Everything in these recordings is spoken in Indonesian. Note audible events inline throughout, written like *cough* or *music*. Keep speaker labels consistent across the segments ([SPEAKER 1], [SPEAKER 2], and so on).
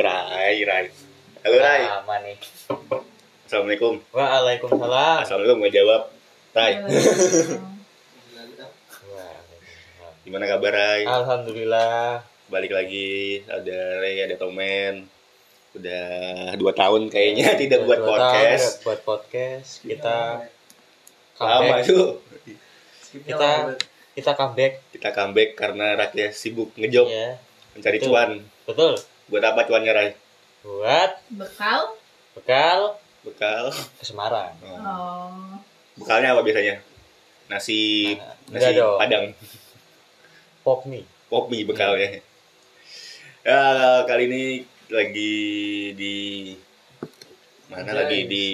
[SPEAKER 1] dari Rai. Halo Rai.
[SPEAKER 2] Lama nih.
[SPEAKER 1] Assalamualaikum.
[SPEAKER 2] Waalaikumsalam.
[SPEAKER 1] Assalamualaikum gak jawab. Rai,
[SPEAKER 2] Waalaikumsalam.
[SPEAKER 1] gimana kabar Rai?
[SPEAKER 2] Alhamdulillah.
[SPEAKER 1] Balik lagi ada Rai, ada Tomen. Udah dua tahun kayaknya tidak buat
[SPEAKER 2] Iya, Dua tahun
[SPEAKER 1] podcast. Iya.
[SPEAKER 2] tidak buat podcast. Kita
[SPEAKER 1] Lama
[SPEAKER 2] comeback.
[SPEAKER 1] tuh.
[SPEAKER 2] Kita kita comeback
[SPEAKER 1] Kita comeback karena rakyat sibuk ngejob
[SPEAKER 2] ya.
[SPEAKER 1] mencari
[SPEAKER 2] Betul.
[SPEAKER 1] cuan.
[SPEAKER 2] Betul.
[SPEAKER 1] Buat apa cuannya Rai?
[SPEAKER 2] Buat
[SPEAKER 3] bekal
[SPEAKER 2] bekal
[SPEAKER 1] Bekal.
[SPEAKER 2] ke Semarang.
[SPEAKER 3] oh
[SPEAKER 1] Bekalnya apa biasanya? Nasi
[SPEAKER 2] Nah, enggak
[SPEAKER 1] nasi
[SPEAKER 2] dong.
[SPEAKER 1] padang.
[SPEAKER 2] Pop mie.
[SPEAKER 1] kopi bekalnya. Ya, kali ini lagi di mana lagi di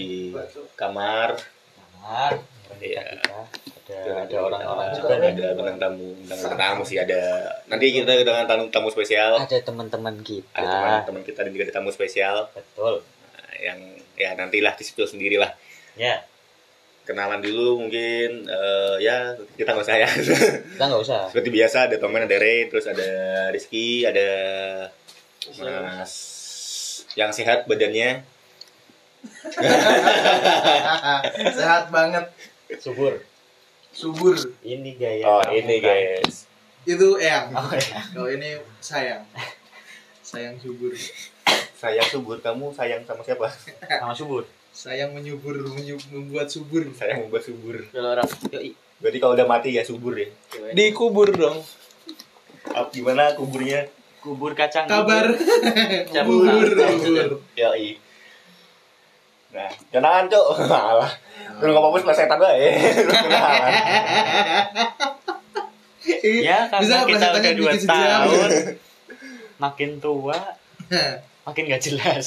[SPEAKER 1] kamar
[SPEAKER 2] Kamar. Kita,
[SPEAKER 1] Iya.
[SPEAKER 2] kita. Ada ada orang-orang juga nih.
[SPEAKER 1] ada bintang tamu bintang tamu sih ada nanti kita dengan tamu tamu spesial
[SPEAKER 2] Ada teman-teman
[SPEAKER 1] ada
[SPEAKER 2] kita.
[SPEAKER 1] teman-teman kita dan juga ada tamu spesial
[SPEAKER 2] Betul.
[SPEAKER 1] Nah, yang ya nantilah di situ sendirilah
[SPEAKER 2] Ya,
[SPEAKER 1] kenalan dulu mungkin eh, ya *laughs* kita nggak saya
[SPEAKER 2] kita nggak usah.
[SPEAKER 1] seperti biasa ada Tomen ada Ray terus ada Rizky ada Mas yang sehat badannya
[SPEAKER 4] Ah, Sehat banget,
[SPEAKER 2] Subur.
[SPEAKER 4] subur.
[SPEAKER 2] Ini gaya.
[SPEAKER 1] Oh
[SPEAKER 2] kamu,
[SPEAKER 1] ini
[SPEAKER 2] kan?
[SPEAKER 1] guys.
[SPEAKER 4] Itu eyang.
[SPEAKER 2] Oh, iya.
[SPEAKER 4] Kalau ini sayang. Sayang subur.
[SPEAKER 1] Sayang subur kamu sayang sama siapa? *laughs*
[SPEAKER 2] Sama subur.
[SPEAKER 4] Sayang menyubur, menyu- membuat subur.
[SPEAKER 1] Sayang membuat subur.
[SPEAKER 2] Kalau orang. Yoi.
[SPEAKER 1] Berarti kalau udah mati ya subur ya.
[SPEAKER 4] Dikubur dong.
[SPEAKER 1] Ap- Gimana kuburnya?
[SPEAKER 2] kubur kacang
[SPEAKER 4] Kabar.
[SPEAKER 2] Cabut.
[SPEAKER 4] Kubur, kubur.
[SPEAKER 1] Ya i. Nah, jangan cok. *laughs* Alah. Lu enggak apa-apa setelah setan eh. *laughs* bae.
[SPEAKER 2] Gitu. ya karena
[SPEAKER 4] Bisa
[SPEAKER 2] kita
[SPEAKER 4] pelesetannya
[SPEAKER 2] udah dua
[SPEAKER 4] bikin sejam.
[SPEAKER 2] tahun *laughs* makin tua makin gak jelas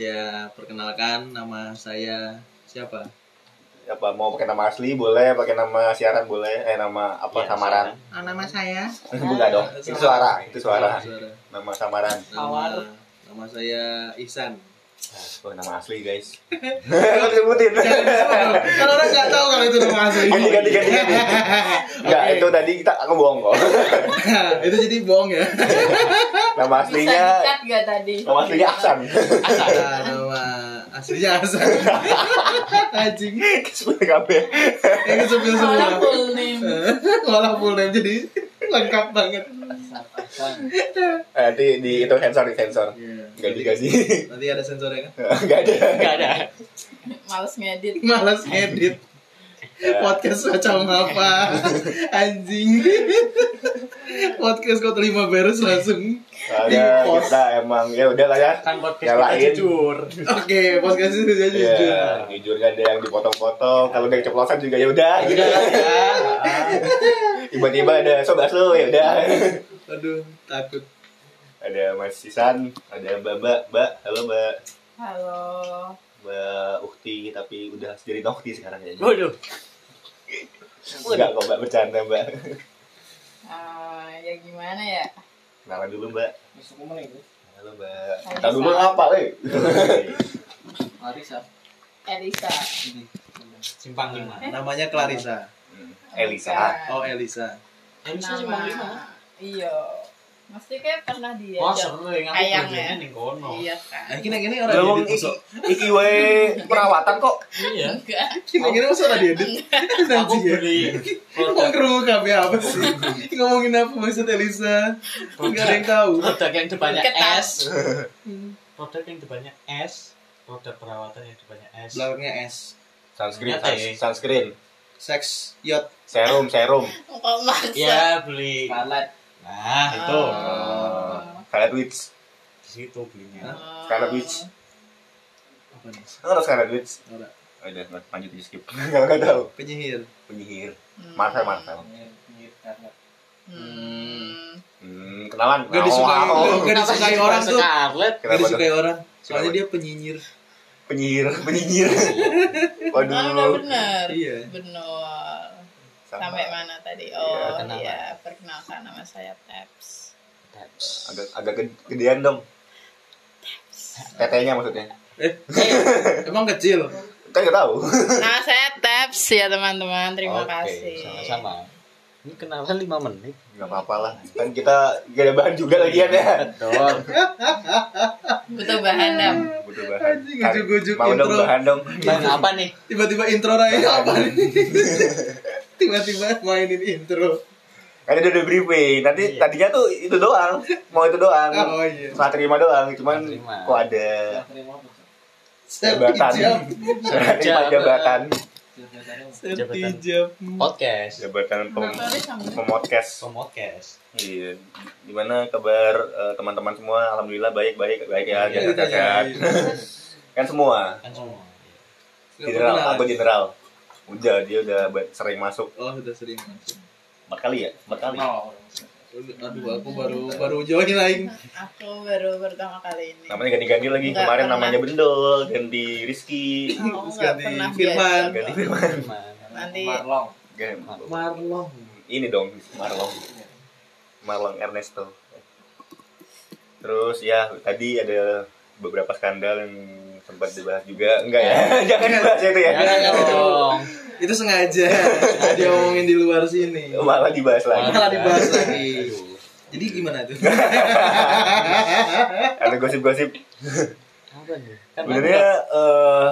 [SPEAKER 4] Ya, perkenalkan nama saya siapa?
[SPEAKER 1] Apa mau pakai nama asli boleh, pakai nama siaran boleh, eh nama apa
[SPEAKER 2] Ya,
[SPEAKER 1] samaran.
[SPEAKER 4] Ah, nama
[SPEAKER 1] *laughs*
[SPEAKER 4] saya.
[SPEAKER 1] Bukan dong. Itu suara, itu suara.
[SPEAKER 4] Suara.
[SPEAKER 1] Nama samaran.
[SPEAKER 2] Mawar.
[SPEAKER 4] Nama, nama saya Ihsan.
[SPEAKER 1] Oh, nama asli
[SPEAKER 4] *laughs*
[SPEAKER 1] guys. Kan sebutin.
[SPEAKER 4] Kan orang nggak tahu kalau itu nama asli.
[SPEAKER 1] Ganti ganti ganti. ganti. Enggak,
[SPEAKER 4] Oke.
[SPEAKER 1] itu tadi kita aku bohong kok.
[SPEAKER 4] *laughs* itu jadi bohong ya.
[SPEAKER 1] Nama aslinya
[SPEAKER 3] bisa dikat gak tadi
[SPEAKER 1] nama aslinya *laughs* Aksan.
[SPEAKER 4] Ah, nama aslinya Hasan. Anjing.
[SPEAKER 1] Seperti kabeh.
[SPEAKER 4] Yang kesepil semua.
[SPEAKER 3] *laughs* soalnya full name
[SPEAKER 4] Malah full name jadi lengkap banget.
[SPEAKER 1] Eh, Nanti di itu sensor di sensor.
[SPEAKER 4] Iya.
[SPEAKER 1] Gaji gaji. *laughs*
[SPEAKER 4] Nanti ada sensornya kan?
[SPEAKER 1] Enggak ada.
[SPEAKER 2] nggak ada
[SPEAKER 3] males ngedit
[SPEAKER 4] Malas ngedit. Podcast macam apa? Anjing. Podcast kok terima beres langsung.
[SPEAKER 1] Soalnya
[SPEAKER 4] Di-post.
[SPEAKER 1] kita emang ya udah lah ya.
[SPEAKER 2] kan podcast
[SPEAKER 1] Yang
[SPEAKER 2] kita
[SPEAKER 1] lain.
[SPEAKER 2] jujur
[SPEAKER 4] Oke, podcast itu jadi
[SPEAKER 1] Iya,
[SPEAKER 4] jujur.
[SPEAKER 1] jujur gak ada yang dipotong-potong. Kalau udah keceplosan juga ya udah. gitu.
[SPEAKER 2] udah lah ya
[SPEAKER 1] Tiba-tiba ada sobat lu ya udah. *laughs*
[SPEAKER 4] Aduh, takut.
[SPEAKER 1] ada Mas Sisan, ada Mbak Mbak, Mbak, halo Mbak.
[SPEAKER 3] halo
[SPEAKER 1] Mbak Ukti tapi udah jadi Nokti sekarang ya.
[SPEAKER 2] waduh
[SPEAKER 1] Enggak kok Mbak bercanda Mbak.
[SPEAKER 3] Ah, ya gimana ya
[SPEAKER 1] Kenalan dulu Mbak. Halo Mbak.
[SPEAKER 3] Halo,
[SPEAKER 1] Tahu dulu
[SPEAKER 3] Sisan.
[SPEAKER 1] apa, eh?
[SPEAKER 4] Clarissa.
[SPEAKER 3] Elisa
[SPEAKER 2] simpang lima
[SPEAKER 4] Namanya Clarissa.
[SPEAKER 1] Elisa.
[SPEAKER 4] Oh, Elisa.
[SPEAKER 2] Elisa simpang lima
[SPEAKER 3] nama iya mesti kayak pernah dia
[SPEAKER 2] wah sering aku
[SPEAKER 3] Ayang,
[SPEAKER 2] kerjanya
[SPEAKER 3] ya?
[SPEAKER 2] nih kono
[SPEAKER 3] iya
[SPEAKER 4] Nah,
[SPEAKER 3] kan
[SPEAKER 4] kini-kini
[SPEAKER 1] Lah,
[SPEAKER 4] orang
[SPEAKER 1] wong
[SPEAKER 4] diedit masuk.
[SPEAKER 1] iki we perawatan kok.
[SPEAKER 2] iya
[SPEAKER 3] enggak
[SPEAKER 4] Kini-kini masuk orang diedit.
[SPEAKER 2] aku
[SPEAKER 4] Anjing ya.
[SPEAKER 2] beli
[SPEAKER 4] Kok
[SPEAKER 2] produk
[SPEAKER 4] kerungu KB apa sih? Ngomongin apa maksud Elisa? Enggak ada yang tahu.
[SPEAKER 2] produk yang depannya
[SPEAKER 3] Ketat.
[SPEAKER 2] S produk yang depannya S produk perawatan yang depannya S
[SPEAKER 4] Belakangnya S.
[SPEAKER 1] Sunscreen,
[SPEAKER 2] Nyata,
[SPEAKER 1] suns-
[SPEAKER 2] ya?
[SPEAKER 1] sunscreen.
[SPEAKER 4] Sex yacht.
[SPEAKER 1] Serum, serum.
[SPEAKER 3] kok maksa
[SPEAKER 2] ya beli
[SPEAKER 4] Scarlet.
[SPEAKER 2] nah
[SPEAKER 3] Ah.
[SPEAKER 2] itu
[SPEAKER 4] Oh.
[SPEAKER 1] Scarlet Witch.
[SPEAKER 2] di situ belinya
[SPEAKER 3] Ah.
[SPEAKER 1] Scarlet Witch.
[SPEAKER 4] Apa nih?
[SPEAKER 1] Enggak tahu Scarlet Witch.
[SPEAKER 4] Ora.
[SPEAKER 1] Oh, udah, lanjut di skip. *laughs* Enggak enggak tahu.
[SPEAKER 4] Penyihir.
[SPEAKER 1] Penyihir.
[SPEAKER 3] Hmm.
[SPEAKER 1] Marvel, Marvel.
[SPEAKER 4] Penyihir Scarlet.
[SPEAKER 3] Hmm.
[SPEAKER 1] Hmm, kenalan.
[SPEAKER 4] Gak disukai, gak disukai orang tuh.
[SPEAKER 2] Scarlet
[SPEAKER 4] Gak
[SPEAKER 1] Kenapa tuh?
[SPEAKER 4] disukai orang. Soalnya
[SPEAKER 1] Kenapa?
[SPEAKER 4] dia penyinyir.
[SPEAKER 1] Penyihir, *laughs*
[SPEAKER 4] *laughs*
[SPEAKER 1] penyihir.
[SPEAKER 3] Ah, udah
[SPEAKER 1] Waduh.
[SPEAKER 3] bener
[SPEAKER 4] Iya.
[SPEAKER 3] bener
[SPEAKER 1] Sama.
[SPEAKER 3] sampai mana tadi oh
[SPEAKER 2] Iya,
[SPEAKER 3] iya perkenalkan nama saya Taps
[SPEAKER 1] Agak agak ged- gedean dong. Tetenya maksudnya.
[SPEAKER 4] Eh, *laughs* emang kecil.
[SPEAKER 1] Kan enggak tahu. *laughs*
[SPEAKER 3] Nah, Nama saya Taps ya teman-teman, terima
[SPEAKER 2] Oke,
[SPEAKER 3] kasih.
[SPEAKER 2] Sama-sama. Ini kenalan 5 menit.
[SPEAKER 1] Gak apa-apa lah. Kan kita gak ada bahan juga lagian ya.
[SPEAKER 2] Betul.
[SPEAKER 3] Butuh bahan dam.
[SPEAKER 1] Butuh bahan.
[SPEAKER 4] Anjing, ujuk-ujuk
[SPEAKER 1] Mau dong
[SPEAKER 4] intro.
[SPEAKER 1] bahan dong.
[SPEAKER 4] *laughs*
[SPEAKER 2] Bang apa nih?
[SPEAKER 4] Tiba-tiba intro Rai apa nih? *laughs* Tiba-tiba mainin intro.
[SPEAKER 1] Kan udah ada briefing. Nanti
[SPEAKER 2] Iya.
[SPEAKER 1] tadinya tuh itu doang. Mau itu doang.
[SPEAKER 4] Oh iya.
[SPEAKER 1] Setelah terima doang. Cuman
[SPEAKER 2] Setelah terima.
[SPEAKER 1] kok ada
[SPEAKER 4] Step
[SPEAKER 1] jabatan.
[SPEAKER 4] hijab.
[SPEAKER 1] *laughs* Setelah terima jabatan.
[SPEAKER 4] Step
[SPEAKER 2] Jabatan.
[SPEAKER 4] hijab.
[SPEAKER 2] Podcast.
[SPEAKER 1] Jabatan pem
[SPEAKER 3] Kenapa harus sama?
[SPEAKER 1] pemodcast.
[SPEAKER 5] Podcast.
[SPEAKER 1] Iya. Gimana kabar eh, teman-teman semua? Alhamdulillah baik-baik baik ya.
[SPEAKER 4] Iya, iya,
[SPEAKER 1] Sehat-sehat.
[SPEAKER 4] iya.
[SPEAKER 1] *laughs* Kan semua.
[SPEAKER 5] Kan semua.
[SPEAKER 4] Nggak
[SPEAKER 1] General,
[SPEAKER 4] pernah.
[SPEAKER 1] aku general. Udah, dia udah ba- sering masuk
[SPEAKER 4] Oh, udah sering masuk.
[SPEAKER 1] empat kali ya, empat kali.
[SPEAKER 4] Oh. Udah, Aduh, aku baru baru join lain.
[SPEAKER 3] Aku baru pertama kali ini.
[SPEAKER 1] Namanya ganti-ganti lagi.
[SPEAKER 3] Nggak
[SPEAKER 1] Kemarin
[SPEAKER 3] pernah.
[SPEAKER 1] namanya Bendol, ganti Rizky,
[SPEAKER 3] *laughs* Aku
[SPEAKER 4] Terus
[SPEAKER 3] nggak
[SPEAKER 4] ganti
[SPEAKER 3] pernah
[SPEAKER 4] Firman.
[SPEAKER 3] biasa.
[SPEAKER 1] ganti Firman.
[SPEAKER 3] Nanti ya.
[SPEAKER 1] Ganti-
[SPEAKER 4] Marlon.
[SPEAKER 1] Ini dong, Marlon. Marlon Ernesto. Terus ya, tadi ada beberapa skandal yang sempat dibahas juga. Enggak ya, jangan dibahas itu ya.
[SPEAKER 2] Jangan kan dong.
[SPEAKER 4] Itu sengaja dia omongin di luar sini.
[SPEAKER 1] Oh, Malah dibahas lagi.
[SPEAKER 4] Malah dibahas lagi.
[SPEAKER 2] Aduh.
[SPEAKER 4] Jadi gimana tuh?
[SPEAKER 1] Ada gosip-gosip
[SPEAKER 2] Apa nih? Kan
[SPEAKER 1] sebenarnya eh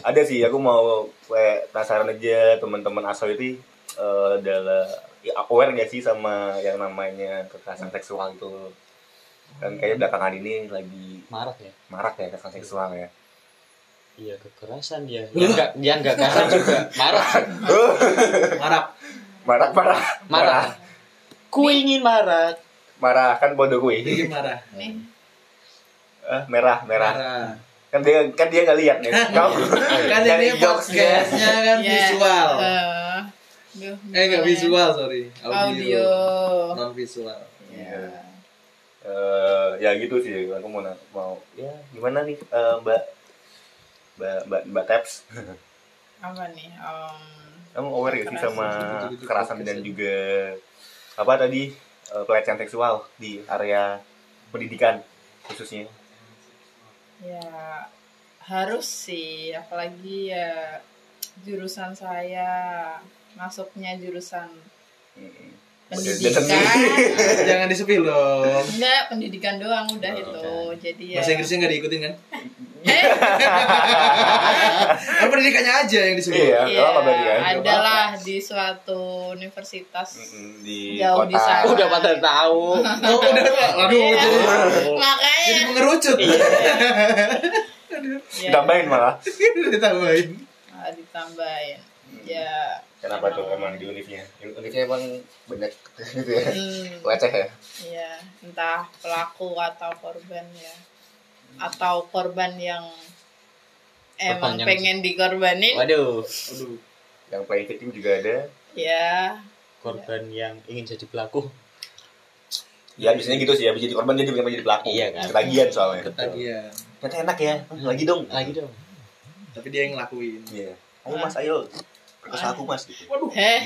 [SPEAKER 1] ada sih aku mau kayak penasaran aja teman-teman aso itu eh, adalah ya, aware gak sih sama yang namanya kekerasan seksual itu dan kayaknya belakangan ini lagi
[SPEAKER 2] marak ya.
[SPEAKER 1] marak ya kekerasan seksual ya
[SPEAKER 2] Iya kekerasan dia. Dia enggak dia enggak kasar juga. Marah.
[SPEAKER 4] Marah.
[SPEAKER 1] marak marak
[SPEAKER 2] Marah. Ku ingin marah.
[SPEAKER 1] marah kan bodoh gue
[SPEAKER 4] Jadi marah.
[SPEAKER 3] nih
[SPEAKER 1] Eh, merah merah kan dia kan dia nggak lihat
[SPEAKER 4] *laughs*
[SPEAKER 1] nih kamu
[SPEAKER 4] Iya. Kan
[SPEAKER 1] Oh, iya. Dari
[SPEAKER 4] ini
[SPEAKER 1] jokes dia.
[SPEAKER 4] podcastnya kan
[SPEAKER 3] Ya,
[SPEAKER 4] visual.
[SPEAKER 3] eh, aduh,
[SPEAKER 4] Eh nggak visual sorry.
[SPEAKER 3] Iya. Audio.
[SPEAKER 4] Audio. Nah. Non visual.
[SPEAKER 1] Iya. Eh, ya gitu sih aku mau na- mau ya gimana nih eh, mbak mbak mbak mbak Taps
[SPEAKER 3] Apa nih? Em,
[SPEAKER 1] Kamu aware gak sih
[SPEAKER 3] Kekerasan.
[SPEAKER 1] sama
[SPEAKER 4] Gitu-gitu
[SPEAKER 1] kekerasan
[SPEAKER 4] podcast
[SPEAKER 1] dan
[SPEAKER 4] ya.
[SPEAKER 1] juga apa tadi eh, pelecehan seksual di area pendidikan khususnya?
[SPEAKER 3] Ya harus sih, apalagi ya jurusan saya masuknya jurusan
[SPEAKER 1] Mm-mm. Dan sendiri.
[SPEAKER 3] pendidikan.
[SPEAKER 4] Jangan disepil dong.
[SPEAKER 3] Enggak, pendidikan doang udah
[SPEAKER 1] Oh,
[SPEAKER 3] itu. Jadi ya.
[SPEAKER 4] Bahasa Inggrisnya nggak diikutin kan?
[SPEAKER 3] Eh,
[SPEAKER 4] Kan pendidikannya aja yang disebut.
[SPEAKER 1] Iya,
[SPEAKER 3] ya,
[SPEAKER 1] nggak apa-apa berarti kan? Nggak apa-apa.
[SPEAKER 3] adalah di suatu universitas.
[SPEAKER 1] Mm-mm, di
[SPEAKER 3] Jauh di sana.
[SPEAKER 2] Udah pada tahu.
[SPEAKER 4] Oh udah, aduh
[SPEAKER 3] Iya.
[SPEAKER 4] itu
[SPEAKER 3] Makanya
[SPEAKER 4] jadi mengerucut.
[SPEAKER 1] Iya.
[SPEAKER 3] ya,
[SPEAKER 1] Ditambahin malah.
[SPEAKER 4] *laughs* Ditambahin.
[SPEAKER 3] ah, ditambahin. Ya.
[SPEAKER 1] Kenapa tuh emang di univnya? Univnya emang banyak gitu ya.
[SPEAKER 3] hmm,
[SPEAKER 1] Leceh ya.
[SPEAKER 3] ya entah pelaku atau korban ya atau korban yang emang
[SPEAKER 2] Pertanyaan.
[SPEAKER 3] pengen dikorbanin
[SPEAKER 2] Waduh.
[SPEAKER 4] Aduh.
[SPEAKER 1] Yang playing victim juga ada.
[SPEAKER 3] ya
[SPEAKER 2] Korban yang ingin jadi pelaku.
[SPEAKER 1] Ya biasanya gitu sih, habis jadi korban dia juga jadi pelaku.
[SPEAKER 2] Iya kan.
[SPEAKER 1] Ketagihan soalnya.
[SPEAKER 4] Ketagihan.
[SPEAKER 1] Ternyata enak ya. Hmm, Lagi dong.
[SPEAKER 2] Lagi dong.
[SPEAKER 4] Tapi dia yang ngelakuin.
[SPEAKER 1] Iya. Ayo Mas, ayo. Perkosa aku Mas gitu.
[SPEAKER 3] eh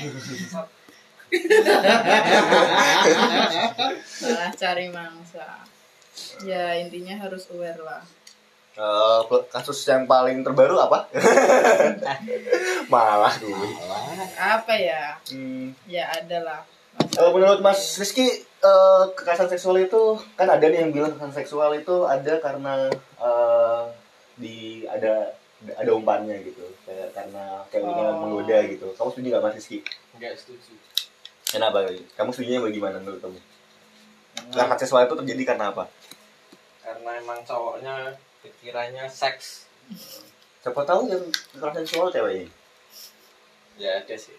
[SPEAKER 3] malah cari mangsa ya intinya harus aware lah
[SPEAKER 1] Eh, kasus yang paling terbaru apa? *laughs* Malah gue.
[SPEAKER 2] Malah.
[SPEAKER 3] apa ya
[SPEAKER 1] Hmm.
[SPEAKER 3] ya adalah
[SPEAKER 1] Eh, menurut Mas Rizky, eh, kekerasan seksual itu kan ada nih yang bilang kekerasan seksual itu ada karena eh, di ada ada umpannya gitu, kayak karena ceweknya
[SPEAKER 3] Oh.
[SPEAKER 1] menggoda gitu. Kamu setuju nggak Mas Rizky?
[SPEAKER 6] Enggak setuju.
[SPEAKER 1] Kenapa? Kamu setuju bagaimana menurut kamu? Kekerasan seksual itu terjadi karena apa?
[SPEAKER 6] Karena emang cowoknya pikirannya seks.
[SPEAKER 1] Siapa tahu yang kekerasan seksual ceweknya?
[SPEAKER 6] Ya ada sih.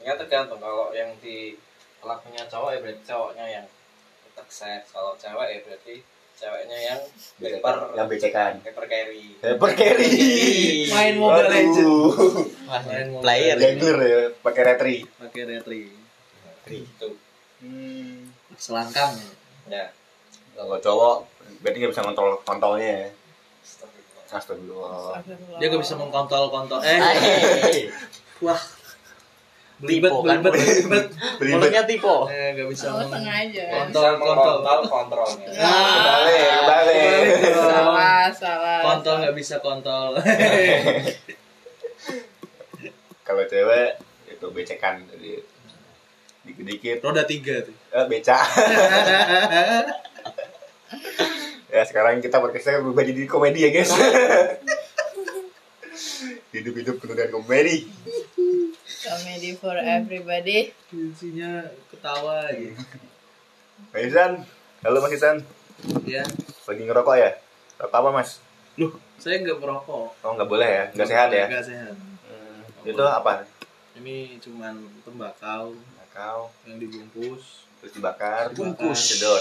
[SPEAKER 6] Ya tergantung kalau yang di pelakunya cowok ya berarti cowoknya yang tetap seks. Kalau cewek ya berarti ceweknya yang
[SPEAKER 1] Becekan. Yang becekan.
[SPEAKER 6] paper carry.
[SPEAKER 1] Hyper carry.
[SPEAKER 4] Main Mobile Legends.
[SPEAKER 2] Wah,
[SPEAKER 4] Main mobile.
[SPEAKER 2] player.
[SPEAKER 1] Jungler ya, pakai retri.
[SPEAKER 4] Pakai retri.
[SPEAKER 6] Gitu.
[SPEAKER 1] Hmm.
[SPEAKER 4] Selangkang.
[SPEAKER 6] Ya.
[SPEAKER 1] Kalau cowok berarti nggak bisa kontrol kontolnya ya.
[SPEAKER 6] Astagfirullah.
[SPEAKER 1] Astagfirullah.
[SPEAKER 3] Astagfirullah.
[SPEAKER 4] Dia gak bisa mengkontol-kontol. Eh,
[SPEAKER 2] Hei.
[SPEAKER 4] wah. Belibet,
[SPEAKER 2] Tipu kan?
[SPEAKER 4] belibet, belibet.
[SPEAKER 1] Belibet.
[SPEAKER 2] Mulutnya tipe.
[SPEAKER 4] Eh, gak bisa
[SPEAKER 3] oh,
[SPEAKER 4] meng-
[SPEAKER 3] sengaja
[SPEAKER 4] Kon-
[SPEAKER 6] Bisa
[SPEAKER 4] Kontol, kontol.
[SPEAKER 6] mengontrol kontrolnya.
[SPEAKER 4] Ah,
[SPEAKER 1] Balik, balik.
[SPEAKER 4] Salah.
[SPEAKER 3] salah salah
[SPEAKER 4] Kontol gak bisa kontol.
[SPEAKER 1] Kalau cewek itu becekan jadi dikit-dikit
[SPEAKER 4] Roda tiga tuh.
[SPEAKER 1] eh, beca *laughs* ya sekarang kita podcastnya berubah jadi komedi ya guys *laughs* hidup-hidup penuh dengan komedi
[SPEAKER 3] Comedy for everybody.
[SPEAKER 4] Kuncinya ketawa ya.
[SPEAKER 1] Mas Isan halo Mas Isan
[SPEAKER 4] ya.
[SPEAKER 1] lagi ngerokok ya rokok apa Mas
[SPEAKER 4] Loh, saya nggak merokok.
[SPEAKER 1] oh nggak boleh ya nggak sehat ya
[SPEAKER 4] Nggak sehat.
[SPEAKER 1] Hmm, itu apa
[SPEAKER 4] Ini cuman tembakau
[SPEAKER 1] kau
[SPEAKER 4] yang dibungkus.
[SPEAKER 1] terus dibakar eh,
[SPEAKER 4] Bungkus.
[SPEAKER 1] sedot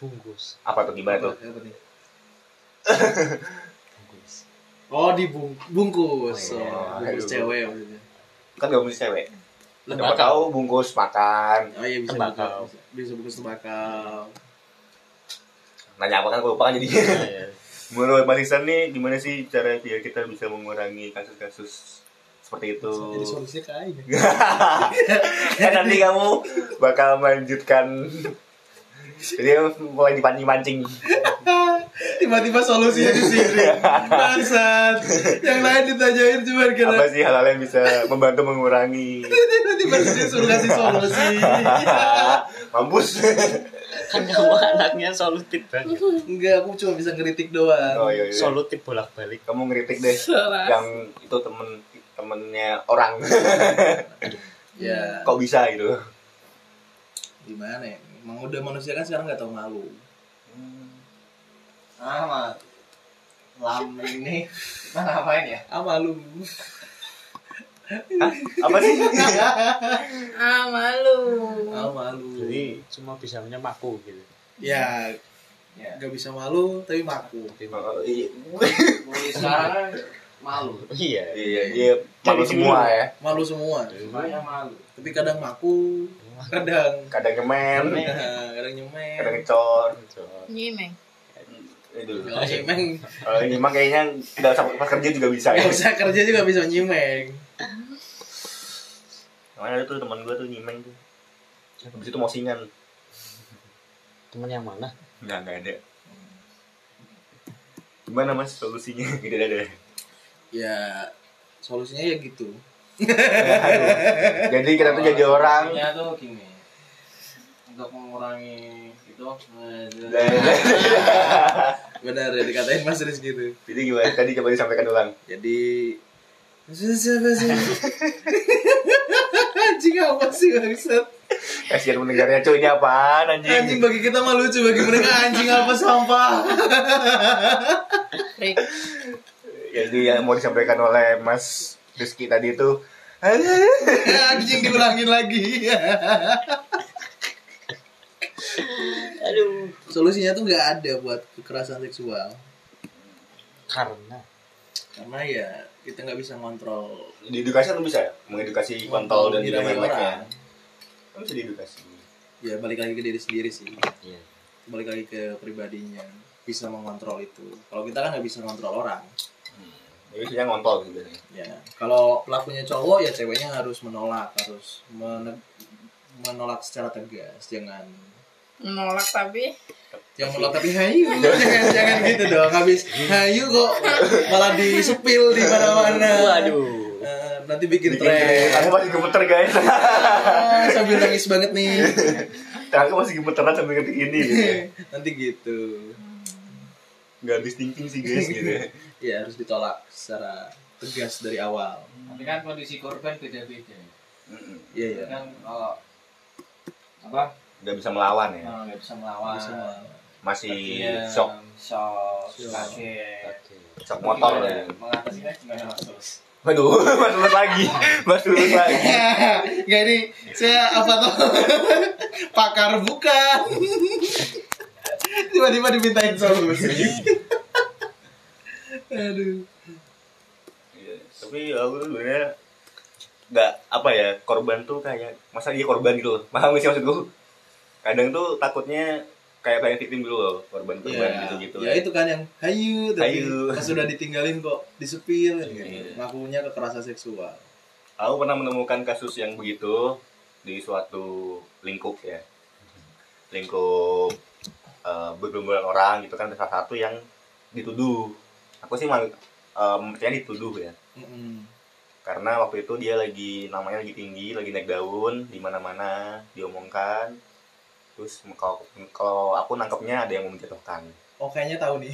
[SPEAKER 2] bungkus
[SPEAKER 1] apa tuh gimana tuh
[SPEAKER 4] Apa nih?
[SPEAKER 2] bungkus
[SPEAKER 4] Oh,
[SPEAKER 2] Oh,
[SPEAKER 4] dibungkus.
[SPEAKER 2] iya.
[SPEAKER 4] Oh, bungkus
[SPEAKER 1] Aduh.
[SPEAKER 4] cewek maksudnya.
[SPEAKER 1] kan gak mesti cewek
[SPEAKER 2] Tembakau.
[SPEAKER 1] Siapa tahu bungkus makan
[SPEAKER 4] Oh iya bisa
[SPEAKER 2] Tembakau.
[SPEAKER 4] bungkus. Bisa bungkus tembakau.
[SPEAKER 1] nanya apa kan aku lupa kan jadi
[SPEAKER 2] *laughs*
[SPEAKER 1] menurut Mas Isan nih gimana sih cara biar kita bisa mengurangi kasus-kasus seperti itu
[SPEAKER 5] Jadi
[SPEAKER 1] *laughs*
[SPEAKER 5] solusinya ke Aing.
[SPEAKER 1] kan nanti kamu bakal melanjutkan jadi mulai dipancing mancing
[SPEAKER 4] *laughs* Tiba-tiba solusinya di sini. Bangsat. Yang lain ditanyain cuma kira
[SPEAKER 1] apa sih hal-hal yang bisa membantu mengurangi
[SPEAKER 4] tiba-tiba disuruh kasih solusi.
[SPEAKER 1] mampus
[SPEAKER 2] kan kamu anaknya solutif banget
[SPEAKER 4] Enggak, aku cuma bisa ngeritik doang.
[SPEAKER 1] oh iya, iya.
[SPEAKER 2] solutif bolak balik
[SPEAKER 1] kamu ngeritik deh
[SPEAKER 3] Salah.
[SPEAKER 1] yang itu temen temennya orang *laughs*
[SPEAKER 4] Ya,
[SPEAKER 1] kok bisa gitu
[SPEAKER 4] gimana ya? Emang udah manusia kan sekarang nggak tahu malu.
[SPEAKER 6] Hmm. ah mah lam ini mana ngapain ya
[SPEAKER 4] Ah malu.
[SPEAKER 1] apa sih
[SPEAKER 3] Ah, malu.
[SPEAKER 4] Ah malu.
[SPEAKER 2] jadi cuma bisa menyemaku gitu
[SPEAKER 4] Ya,
[SPEAKER 6] ya
[SPEAKER 4] nggak bisa malu tapi maku.
[SPEAKER 1] Oh, iya
[SPEAKER 6] mulai sekarang malu
[SPEAKER 2] iya
[SPEAKER 1] iya iya malu semua ya
[SPEAKER 4] Malu semua.
[SPEAKER 6] semuanya malu
[SPEAKER 4] Tapi kadang maku, kadang
[SPEAKER 1] kadang ngemen
[SPEAKER 4] kadang, kadang
[SPEAKER 1] kadang
[SPEAKER 4] nyemen.
[SPEAKER 1] ngecor
[SPEAKER 3] Nyimeng.
[SPEAKER 1] Aduh.
[SPEAKER 4] Kalau nyemeng,
[SPEAKER 1] Kalau ini mah kayaknya nggak sampai pas kerja juga bisa ya.
[SPEAKER 4] nggak usah kerja juga bisa nyemeng.
[SPEAKER 1] Kemarin ada tuh teman gue tuh nyimeng tuh. Habis itu mosingan.
[SPEAKER 2] temen yang mana
[SPEAKER 1] Enggak, enggak ada. Gimana Mas *laughs* solusinya? Gitu ada.
[SPEAKER 4] Ya, solusinya ya gitu.
[SPEAKER 1] Jadi kita tuh jadi orang.
[SPEAKER 6] Solusinya Ya, tuh gini untuk mengurangi itu eh,
[SPEAKER 4] Benar ya dikatain Mas Riz gitu.
[SPEAKER 1] *laughs* Jadi gimana? Tadi coba disampaikan ulang.
[SPEAKER 4] Jadi siapa sih? Anjing apa sih bangsat?
[SPEAKER 1] Kasihan mendengarnya cuy ini apaan
[SPEAKER 4] Anjing
[SPEAKER 1] anjing?
[SPEAKER 4] bagi kita mah lucu bagi mereka anjing apa
[SPEAKER 6] *laughs*
[SPEAKER 4] sampah.
[SPEAKER 3] Rick.
[SPEAKER 1] Jadi Ya, yang mau disampaikan oleh Mas Rizky tadi itu
[SPEAKER 4] anjing diulangin lagi. *laughs*
[SPEAKER 2] aduh
[SPEAKER 4] Solusinya tuh nggak ada buat kekerasan seksual
[SPEAKER 2] karena
[SPEAKER 4] karena ya kita nggak bisa ngontrol
[SPEAKER 1] di edukasi kan lu bisa ya? Mengedukasi kontol dan tidak
[SPEAKER 4] diri orang.
[SPEAKER 1] lain-lainnya. Kan bisa diedukasi.
[SPEAKER 4] Ya balik lagi ke diri sendiri sih.
[SPEAKER 2] iya
[SPEAKER 4] Balik lagi ke pribadinya bisa mengontrol itu. Kalau kita kan nggak bisa ngontrol orang.
[SPEAKER 1] Jadi biasanya ngontol gitu biasanya.
[SPEAKER 4] Ya, kalau pelakunya cowok ya ceweknya harus menolak, harus mene- menolak secara tegas, jangan
[SPEAKER 3] Menolak tapi
[SPEAKER 4] jangan menolak tapi hayu, *laughs* jangan jangan gitu dong. Habis hayu kok malah disepil di mana-mana.
[SPEAKER 2] waduh
[SPEAKER 4] Eh, nanti bikin
[SPEAKER 1] Bikin tren. Eh, Aku
[SPEAKER 4] tren.
[SPEAKER 1] masih gemeter guys. *laughs*
[SPEAKER 4] Ah, sambil nangis banget nih.
[SPEAKER 1] Aku masih gemeteran sampai ketik ini. Gitu. ya.
[SPEAKER 4] *laughs* nanti gitu.
[SPEAKER 1] Nggak habis thinking sih guys gitu. ya.
[SPEAKER 4] Ya harus ditolak secara tegas dari awal.
[SPEAKER 6] tapi kan kondisi korban beda-beda
[SPEAKER 1] Mm-mm.
[SPEAKER 4] Iya ya.
[SPEAKER 6] kan kalau apa
[SPEAKER 1] Nggak bisa melawan ya.
[SPEAKER 6] nah, nggak bisa melawan
[SPEAKER 1] Masih
[SPEAKER 6] Iya,
[SPEAKER 1] shock,
[SPEAKER 6] shock,
[SPEAKER 4] Shock.
[SPEAKER 6] kaget
[SPEAKER 2] oke
[SPEAKER 1] shock motor.
[SPEAKER 6] Gimana?
[SPEAKER 1] gitu.
[SPEAKER 6] mengatasinya gimana mas Sus?
[SPEAKER 1] Waduh, *laughs* mas lulus lagi, mas lulus lagi.
[SPEAKER 4] Gak ini saya apa tuh *laughs* pakar bukan. Tiba-tiba dimintain solusi. Aduh.
[SPEAKER 1] Iya, Tapi aku tuh sebenarnya nggak apa ya korban tuh kayak masa dia korban gitu loh *laughs* paham gak sih maksud gue kadang tuh takutnya kayak pengen victim dulu loh korban korban gitu gitu
[SPEAKER 4] ya itu kan yang hayu tapi
[SPEAKER 1] Hayu.
[SPEAKER 4] pas sudah ditinggalin kok disepil
[SPEAKER 1] Iya.
[SPEAKER 4] ngakunya kekerasan seksual
[SPEAKER 1] aku pernah menemukan kasus yang begitu di suatu lingkup ya lingkup eh, bergerombolan orang gitu kan ada salah satu yang dituduh aku sih mal, eh, mempercayai dituduh ya
[SPEAKER 4] Mm-mm.
[SPEAKER 1] karena waktu itu dia lagi namanya lagi tinggi lagi naik daun di mana mana diomongkan terus kalau kalau aku nangkepnya ada yang mau menjatuhkan
[SPEAKER 4] Oh kayaknya tahu nih.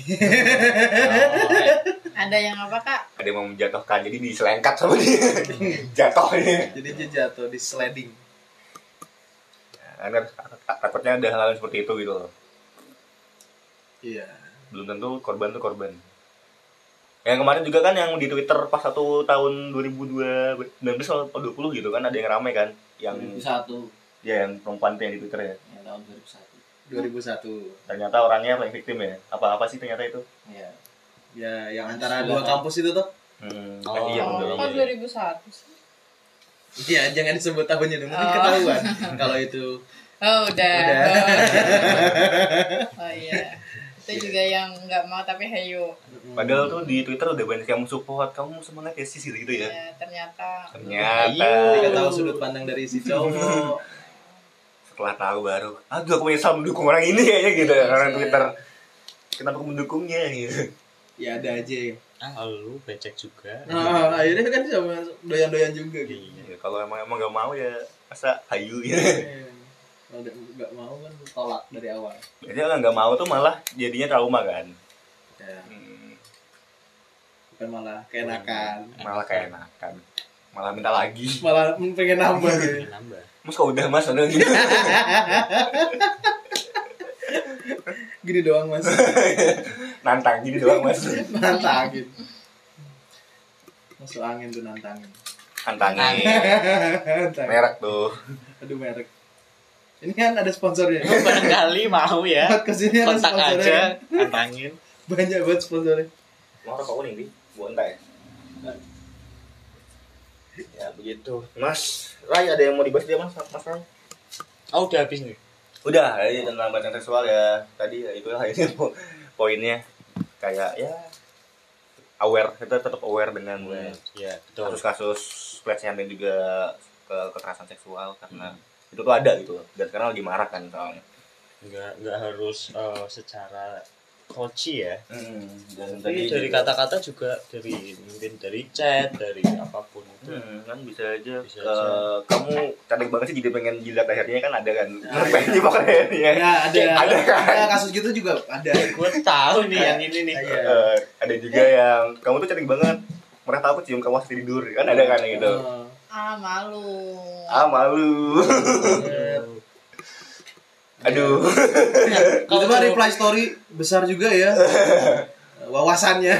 [SPEAKER 3] Ada yang apa kak?
[SPEAKER 1] ada yang mau menjatuhkan jadi diselengkat sama dia *laughs* jatuhnya
[SPEAKER 4] *laughs* Jadi dia jatuh di sliding.
[SPEAKER 1] karena takutnya ada hal-hal seperti itu gitu loh
[SPEAKER 4] Iya.
[SPEAKER 1] belum tentu korban tuh korban yang kemarin juga kan yang di Twitter pas satu tahun 2019 atau 20 gitu kan ada yang rame kan yang
[SPEAKER 6] Hmm.
[SPEAKER 7] 2001
[SPEAKER 1] ya yang perempuan tuh yang di Twitter
[SPEAKER 7] ya
[SPEAKER 1] ya
[SPEAKER 6] Iya,
[SPEAKER 7] tahun 2001
[SPEAKER 4] 2001.
[SPEAKER 1] ternyata orangnya paling victim ya apa apa sih ternyata itu
[SPEAKER 7] ya
[SPEAKER 4] Ya, yang antara dua kampus itu tuh.
[SPEAKER 1] hmm,
[SPEAKER 2] Oh.
[SPEAKER 1] iya
[SPEAKER 3] oh,
[SPEAKER 1] betul
[SPEAKER 3] kok 2001 sih?
[SPEAKER 4] Iya, jangan disebut tahunnya dong, nanti
[SPEAKER 3] Oh.
[SPEAKER 4] ketahuan. Kalau itu
[SPEAKER 3] Oh udah.
[SPEAKER 4] Udah.
[SPEAKER 3] Oh, oh iya. Itu juga yang nggak mau tapi hayu.
[SPEAKER 1] padahal tuh di Twitter udah banyak yang support kamu semangat ya sis gitu gitu
[SPEAKER 4] Iya.
[SPEAKER 1] ya
[SPEAKER 3] Ya, ternyata
[SPEAKER 1] ternyata
[SPEAKER 4] Ketika tahu sudut pandang dari si cowok.
[SPEAKER 1] setelah tahu baru aduh aku menyesal mendukung orang ini kayaknya gitu
[SPEAKER 3] Iya,
[SPEAKER 1] orang
[SPEAKER 3] sih.
[SPEAKER 1] Twitter kenapa aku mendukungnya gitu
[SPEAKER 4] ya ada aja.
[SPEAKER 2] ah lu becek juga
[SPEAKER 4] Nah, akhirnya kan sama doyan-doyan juga gitu.
[SPEAKER 2] Iya.
[SPEAKER 1] ya, kalau emang emang gak mau ya masa hayu gitu
[SPEAKER 4] Eh, Kalau udah nggak mau kan tolak dari awal.
[SPEAKER 1] Jadi orang nggak mau tuh malah jadinya trauma kan.
[SPEAKER 4] Ya,
[SPEAKER 1] Hmm,
[SPEAKER 4] bukan malah keenakan.
[SPEAKER 1] malah keenakan. Malah minta lagi.
[SPEAKER 4] Malah mm, pengen nambah gitu.
[SPEAKER 2] nambah
[SPEAKER 1] Mas kok udah mas udah *laughs* gitu.
[SPEAKER 4] Gini doang, Mas.
[SPEAKER 1] Nantang gini doang mas.
[SPEAKER 4] Nantangin. Masuk angin tuh nantangin.
[SPEAKER 1] Nantangin.
[SPEAKER 4] Nantangin.
[SPEAKER 1] Merek tuh.
[SPEAKER 4] Aduh merek. Ini kan ada sponsornya.
[SPEAKER 2] barangkali mau ya
[SPEAKER 1] Iya,
[SPEAKER 4] Podcast ini ada
[SPEAKER 2] kontak
[SPEAKER 4] sponsornya.
[SPEAKER 2] aja tantangin
[SPEAKER 4] Banyak banget sponsornya.
[SPEAKER 1] Mau rokok kuning di? Buat entah ya. Ya begitu. Mas, Rai ada yang mau dibahas dia mas? Mas Rai?
[SPEAKER 2] oh udah habis nih
[SPEAKER 1] Udah, ya, tentang pelecehan seksual ya. Tadi ya itulah *laughs* ini po- poinnya. Kayak ya aware kita tetap aware dengan
[SPEAKER 2] ya betul
[SPEAKER 1] kasus-kasus pelecehan dan juga ke kekerasan seksual karena itu tuh ada gitu loh. dan sekarang lagi marah kan soalnya
[SPEAKER 2] nggak nggak harus eh, secara koci ya
[SPEAKER 1] Hmm, dan
[SPEAKER 2] tapi dari kata-kata juga dari mungkin dari chat dari apapun itu
[SPEAKER 1] kan bisa aja,
[SPEAKER 2] Hmm. Bisa
[SPEAKER 1] eh,
[SPEAKER 2] aja.
[SPEAKER 1] kamu cantik banget sih jadi pengen jilat akhirnya kan ada kan
[SPEAKER 2] Nah.
[SPEAKER 1] pengen jebak akhirnya
[SPEAKER 4] Ya, ada,
[SPEAKER 1] Ada
[SPEAKER 4] ada,
[SPEAKER 1] kan?
[SPEAKER 4] kasus gitu juga ada.
[SPEAKER 2] gue tahu nih yang ini nih
[SPEAKER 4] Iya.
[SPEAKER 1] Eh, ada juga yang kamu tuh cantik banget merasa aku cium kamu pas tidur kan ada kan yang
[SPEAKER 2] Hmm.
[SPEAKER 1] gitu
[SPEAKER 4] Oh,
[SPEAKER 3] ah malu.
[SPEAKER 1] ah
[SPEAKER 2] *laughs*
[SPEAKER 1] malu
[SPEAKER 4] Oh, bener.
[SPEAKER 1] aduh
[SPEAKER 2] Iya.
[SPEAKER 4] Itu mah reply story besar juga ya. Wawasannya.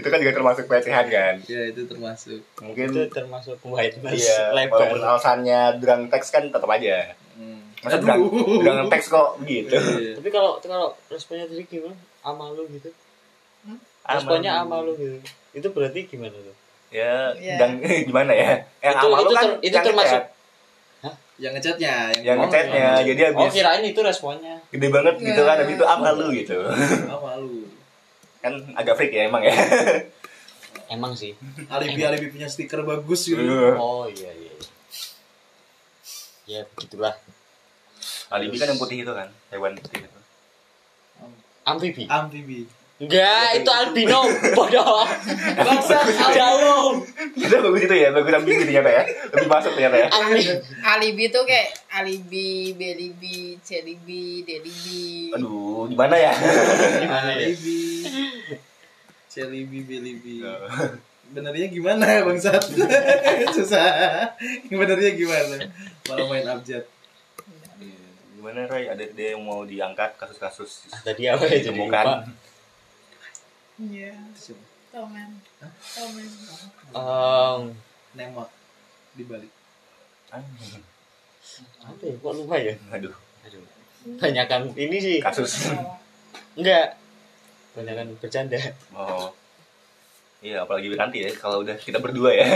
[SPEAKER 1] itu kan juga termasuk pelecehan kan
[SPEAKER 4] ya itu termasuk.
[SPEAKER 2] itu
[SPEAKER 1] mungkin
[SPEAKER 2] termasuk whiteness
[SPEAKER 1] iya walaupun
[SPEAKER 2] lebar
[SPEAKER 1] alasannya drunk text kan tetap aja
[SPEAKER 4] Hmm.
[SPEAKER 1] masa drunk drunk text kok gitu
[SPEAKER 4] Iya.
[SPEAKER 2] tapi kalau kalau responnya tadi gimana ama lu gitu
[SPEAKER 1] Ah,
[SPEAKER 2] responnya
[SPEAKER 1] Aman.
[SPEAKER 2] ama lu gitu itu berarti gimana tuh
[SPEAKER 1] ya
[SPEAKER 3] Iya.
[SPEAKER 1] dan *laughs* gimana ya yang
[SPEAKER 2] Itu-
[SPEAKER 1] awal
[SPEAKER 2] itu
[SPEAKER 1] lu kan
[SPEAKER 2] ter- itu
[SPEAKER 1] yang
[SPEAKER 2] termasuk-
[SPEAKER 1] ngechat.
[SPEAKER 4] Yang ngechatnya,
[SPEAKER 1] yang
[SPEAKER 4] ngomong.
[SPEAKER 1] ngechatnya jadi
[SPEAKER 2] oh
[SPEAKER 1] habis
[SPEAKER 2] kirain itu responnya
[SPEAKER 1] gede banget gitu kan
[SPEAKER 3] Iya.
[SPEAKER 1] habis itu apa lu gitu *laughs*
[SPEAKER 4] Ah, malu.
[SPEAKER 1] kan agak freak ya emang ya
[SPEAKER 2] emang sih
[SPEAKER 4] Alibi alibi punya stiker bagus gitu.
[SPEAKER 1] Aduh.
[SPEAKER 2] oh iya iya iya. ya begitulah
[SPEAKER 1] *laughs* alibi kan yang putih itu kan hewan putih itu
[SPEAKER 2] amfibi Iya.
[SPEAKER 4] Amfibi.
[SPEAKER 2] enggak itu *laughs* albino bodoh bangsa jauh
[SPEAKER 1] itu bagus itu ya bagus ambil gitu ternyata ya lebih masuk ternyata ya
[SPEAKER 2] Ami-
[SPEAKER 3] Alibi tuh kayak alibi, belibi, celibi, delibi.
[SPEAKER 1] aduh di mana ya
[SPEAKER 2] gimana ya
[SPEAKER 4] Alibi. Celibi belibi. Benernya gimana ya Bang Sat? *laughs* Susah. Yang benernya gimana? Kalau main abjad.
[SPEAKER 1] gimana Iya, Ray ada dia yang mau diangkat kasus-kasus *laughs*
[SPEAKER 2] tadi apa ya jadi lupa.
[SPEAKER 1] ditemukan
[SPEAKER 3] Iya. Tomen. Tomen.
[SPEAKER 2] Em,
[SPEAKER 4] Nemot di balik.
[SPEAKER 2] apa ya kok lupa ya
[SPEAKER 1] Ah, aduh
[SPEAKER 2] banyakan ini sih
[SPEAKER 1] kasus
[SPEAKER 2] enggak banyakan bercanda
[SPEAKER 1] Oh. Iya, apalagi nanti ya kalau udah kita berdua ya. *laughs*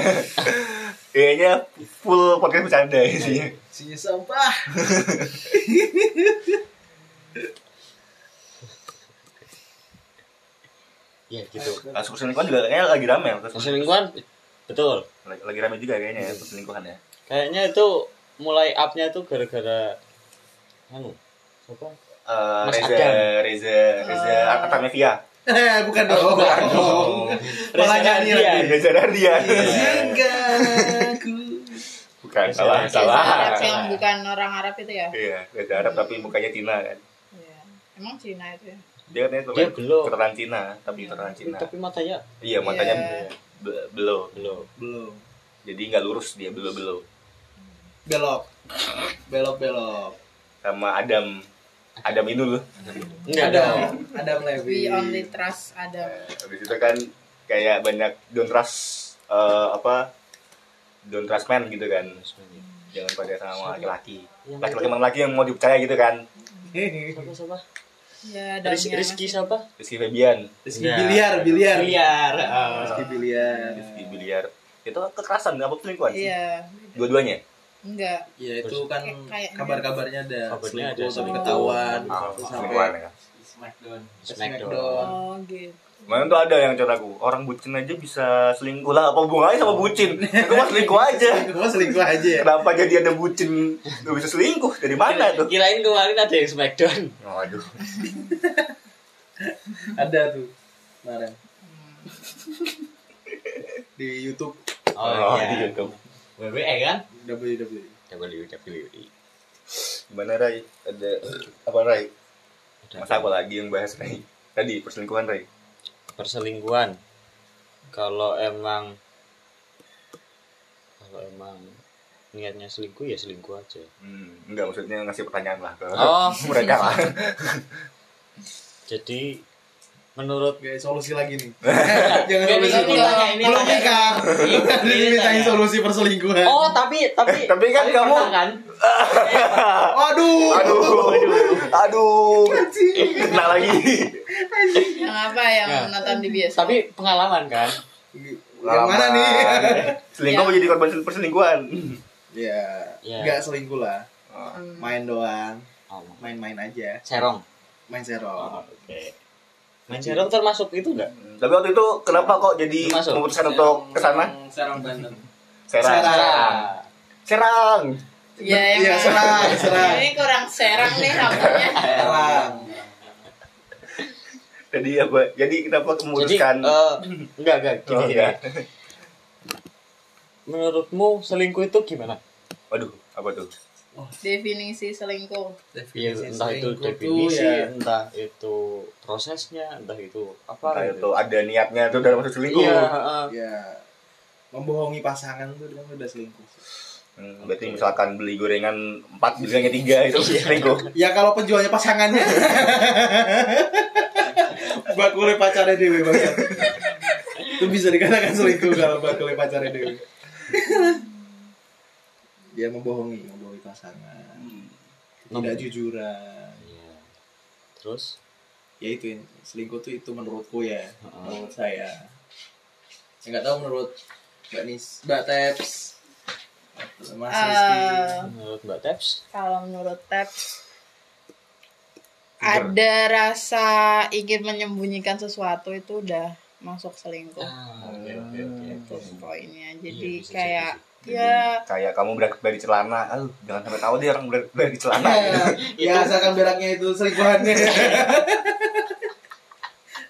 [SPEAKER 1] Kayaknya full podcast bercanda isinya.
[SPEAKER 4] Isinya sampah.
[SPEAKER 2] ya gitu
[SPEAKER 1] Kasus perselingkuhan juga kayaknya lagi rame ya. Kasus
[SPEAKER 2] selingkuhan betul
[SPEAKER 1] Lagi lagi rame juga kayaknya ya perselingkuhan ya.
[SPEAKER 2] Kayaknya itu mulai up-nya tuh gara-gara anu, siapa?
[SPEAKER 1] Eh
[SPEAKER 2] Mas
[SPEAKER 1] Reza,
[SPEAKER 2] Adam.
[SPEAKER 1] Reza, Reza,
[SPEAKER 3] Eh.
[SPEAKER 1] Artamevia.
[SPEAKER 4] Eh, bukan dong.
[SPEAKER 2] Oh, bukan dong.
[SPEAKER 4] Malah nyanyi
[SPEAKER 2] Reza
[SPEAKER 4] lagi.
[SPEAKER 1] Iya, Reza Rahardian.
[SPEAKER 4] Iya. Singgaku.
[SPEAKER 1] Bukan
[SPEAKER 2] Reza
[SPEAKER 1] salah,
[SPEAKER 2] Rahardian.
[SPEAKER 1] salah.
[SPEAKER 2] Reza
[SPEAKER 3] Arab yang bukan orang Arab itu ya?
[SPEAKER 1] Iya, Reza Arab tapi mukanya Cina kan.
[SPEAKER 3] Iya. Emang Cina itu ya?
[SPEAKER 1] Dia katanya
[SPEAKER 2] Dia
[SPEAKER 1] pemain
[SPEAKER 2] belum.
[SPEAKER 1] keturunan Cina, tapi keturunan Cina.
[SPEAKER 2] Tapi matanya
[SPEAKER 1] Iya, matanya
[SPEAKER 3] Iya.
[SPEAKER 1] be- belum.
[SPEAKER 2] belum.
[SPEAKER 4] Belum.
[SPEAKER 1] Jadi nggak lurus dia belum-belum.
[SPEAKER 4] Belok. Belok belok.
[SPEAKER 1] Sama Adam Adam itu loh.
[SPEAKER 2] Enggak dong.
[SPEAKER 4] Adam Levy.
[SPEAKER 3] We only trust Adam.
[SPEAKER 1] Habis itu kan kayak banyak don't trust eh, apa don't trust man gitu kan. Jangan percaya sama laki-laki.
[SPEAKER 2] iya. Yang
[SPEAKER 1] Laki-laki mana lagi yang mau dipercaya gitu kan.
[SPEAKER 2] Siapa siapa?
[SPEAKER 3] Ya, Adam
[SPEAKER 2] Rizky, Rizky siapa?
[SPEAKER 1] Rizky Febian,
[SPEAKER 4] Rizky
[SPEAKER 2] Ya.
[SPEAKER 4] biliar, Iya. biliar. Ah,
[SPEAKER 5] Biliar. eh.
[SPEAKER 4] Rizky biliar.
[SPEAKER 1] Rizky Biliar. Itu kekerasan apa selingkuhan sih?
[SPEAKER 3] Iya.
[SPEAKER 1] Dua-duanya.
[SPEAKER 3] Enggak.
[SPEAKER 4] Ya itu kan
[SPEAKER 3] Kayak- kayak-
[SPEAKER 4] kabar-kabarnya ada
[SPEAKER 2] Kabarnya ada
[SPEAKER 4] selingkuh tapi
[SPEAKER 3] selingkuh.
[SPEAKER 4] ketahuan
[SPEAKER 1] Ah,
[SPEAKER 4] Terus
[SPEAKER 1] selingkuhan
[SPEAKER 4] sampai
[SPEAKER 1] ya.
[SPEAKER 6] Smackdown
[SPEAKER 2] Smackdown.
[SPEAKER 3] Oh, gitu.
[SPEAKER 1] Kemarin tuh ada yang cerita aku, orang bucin aja bisa selingkuh lah, apa hubungannya sama bucin? Aku mah selingkuh aja.
[SPEAKER 4] Kamu selingkuh aja ya.
[SPEAKER 1] Kenapa jadi ada bucin nggak bisa selingkuh? Dari mana tuh?
[SPEAKER 2] Kirain kemarin ada yang Smackdown.
[SPEAKER 1] Waduh.
[SPEAKER 4] Ada tuh. Kemarin
[SPEAKER 3] Hmm.
[SPEAKER 4] di YouTube
[SPEAKER 1] Oh, di
[SPEAKER 2] iya.
[SPEAKER 1] YouTube.
[SPEAKER 5] WWE kan?
[SPEAKER 4] WWE.
[SPEAKER 2] WWE.
[SPEAKER 1] Gimana Rai? Ada apa Rai?
[SPEAKER 2] Ada
[SPEAKER 1] Masa aku lagi yang bahas Rai? Tadi perselingkuhan Rai.
[SPEAKER 2] perselingkuhan. Kalau emang kalau emang niatnya selingkuh ya selingkuh aja.
[SPEAKER 1] Hmm, enggak maksudnya ngasih pertanyaan lah ke
[SPEAKER 2] Oh.
[SPEAKER 1] *laughs* mereka lah.
[SPEAKER 2] Jadi menurut
[SPEAKER 4] Oke, solusi lagi nih.
[SPEAKER 2] Gak
[SPEAKER 4] Jangan
[SPEAKER 2] bisa
[SPEAKER 4] solusi
[SPEAKER 2] ditanya, ini
[SPEAKER 4] ulang. Iya, Belum
[SPEAKER 2] tanya.
[SPEAKER 4] nikah. *laughs*
[SPEAKER 2] Ini
[SPEAKER 4] Dimintain
[SPEAKER 2] tanya.
[SPEAKER 4] solusi perselingkuhan.
[SPEAKER 2] Oh, tapi
[SPEAKER 1] Eh,
[SPEAKER 2] tapi
[SPEAKER 1] tapi kan kamu-
[SPEAKER 2] pernah kan?
[SPEAKER 4] Waduh.
[SPEAKER 1] Aduh, aduh, kena lagi.
[SPEAKER 3] Yang apa yang
[SPEAKER 2] Ya.
[SPEAKER 3] nonton di bioskop?
[SPEAKER 2] Tapi pengalaman kan?
[SPEAKER 4] Yang mana
[SPEAKER 1] *laughs*
[SPEAKER 4] nih?
[SPEAKER 1] Selingkuh
[SPEAKER 2] Iya.
[SPEAKER 3] Ya.
[SPEAKER 1] menjadi korban perselingkuhan.
[SPEAKER 4] Ya,
[SPEAKER 2] Ya.
[SPEAKER 4] nggak selingkuh lah.
[SPEAKER 3] Hmm.
[SPEAKER 4] Main doang,
[SPEAKER 2] Oh,
[SPEAKER 4] main-main aja,
[SPEAKER 2] serong.
[SPEAKER 4] main
[SPEAKER 2] Oh.
[SPEAKER 4] serong.
[SPEAKER 2] Oke. Main serong termasuk itu enggak?
[SPEAKER 1] Tapi waktu itu kenapa kok jadi
[SPEAKER 2] Masuk.
[SPEAKER 1] memutuskan Kan untuk kesana?
[SPEAKER 6] Serang- Serang Banten
[SPEAKER 1] Serang.
[SPEAKER 4] Serang.
[SPEAKER 1] Serang.
[SPEAKER 3] Ya, yang
[SPEAKER 4] Iya,
[SPEAKER 3] mana?
[SPEAKER 4] serang, serang.
[SPEAKER 3] Ini kurang serang nih rambutnya. *laughs*
[SPEAKER 4] Serang.
[SPEAKER 1] Jadi apa? Jadi kenapa memutuskan?
[SPEAKER 2] Jadi, eh, enggak enggak gini
[SPEAKER 1] Oh,
[SPEAKER 2] gini.
[SPEAKER 1] enggak.
[SPEAKER 2] Menurutmu selingkuh itu gimana?
[SPEAKER 1] Waduh, apa tuh?
[SPEAKER 3] Definisi selingkuh.
[SPEAKER 2] Ya, entah itu
[SPEAKER 4] selingkuh tuh
[SPEAKER 2] definisi,
[SPEAKER 4] ya.
[SPEAKER 2] entah itu prosesnya, entah itu apa
[SPEAKER 1] Entah
[SPEAKER 2] gitu.
[SPEAKER 1] itu ada niatnya tuh dalam maksud selingkuh.
[SPEAKER 2] Iya, heeh.
[SPEAKER 4] Ya, membohongi pasangan tuh dia kan udah selingkuh.
[SPEAKER 1] Hmm, berarti misalkan beli gorengan 4, beli gorengan
[SPEAKER 2] Iya.
[SPEAKER 1] 3 itu selingkuh.
[SPEAKER 4] Ya kalau penjualnya pasangannya. bakule pacarnya Dewi banget. Itu bisa dikatakan selingkuh kalau bakule pacarnya Dewi. Dia membohongi, membohongi pasangan. Tidak
[SPEAKER 2] Mem-
[SPEAKER 4] jujuran.
[SPEAKER 2] Iya. Terus
[SPEAKER 4] Ya itu yang- selingkuh tuh itu menurutku ya,
[SPEAKER 2] Heeh.
[SPEAKER 4] menurut saya. Saya nggak tahu menurut Mbak Nis, Mbak Teps, Mas Rizky.
[SPEAKER 3] Eh,
[SPEAKER 2] menurut Mbak Teps,
[SPEAKER 3] kalau menurut Tabs ada rasa ingin menyembunyikan sesuatu itu udah masuk selingkuh
[SPEAKER 2] ah, oke oke oke.
[SPEAKER 3] itu poinnya
[SPEAKER 2] Iya,
[SPEAKER 3] jadi
[SPEAKER 2] bisa jadi
[SPEAKER 3] kayak
[SPEAKER 1] Jadi,
[SPEAKER 3] ya
[SPEAKER 1] kayak kamu berak dari celana. Aduh, jangan sampai tahu deh orang berak dari celana.
[SPEAKER 4] ya asalkan beraknya itu *laughs* selingkuhannya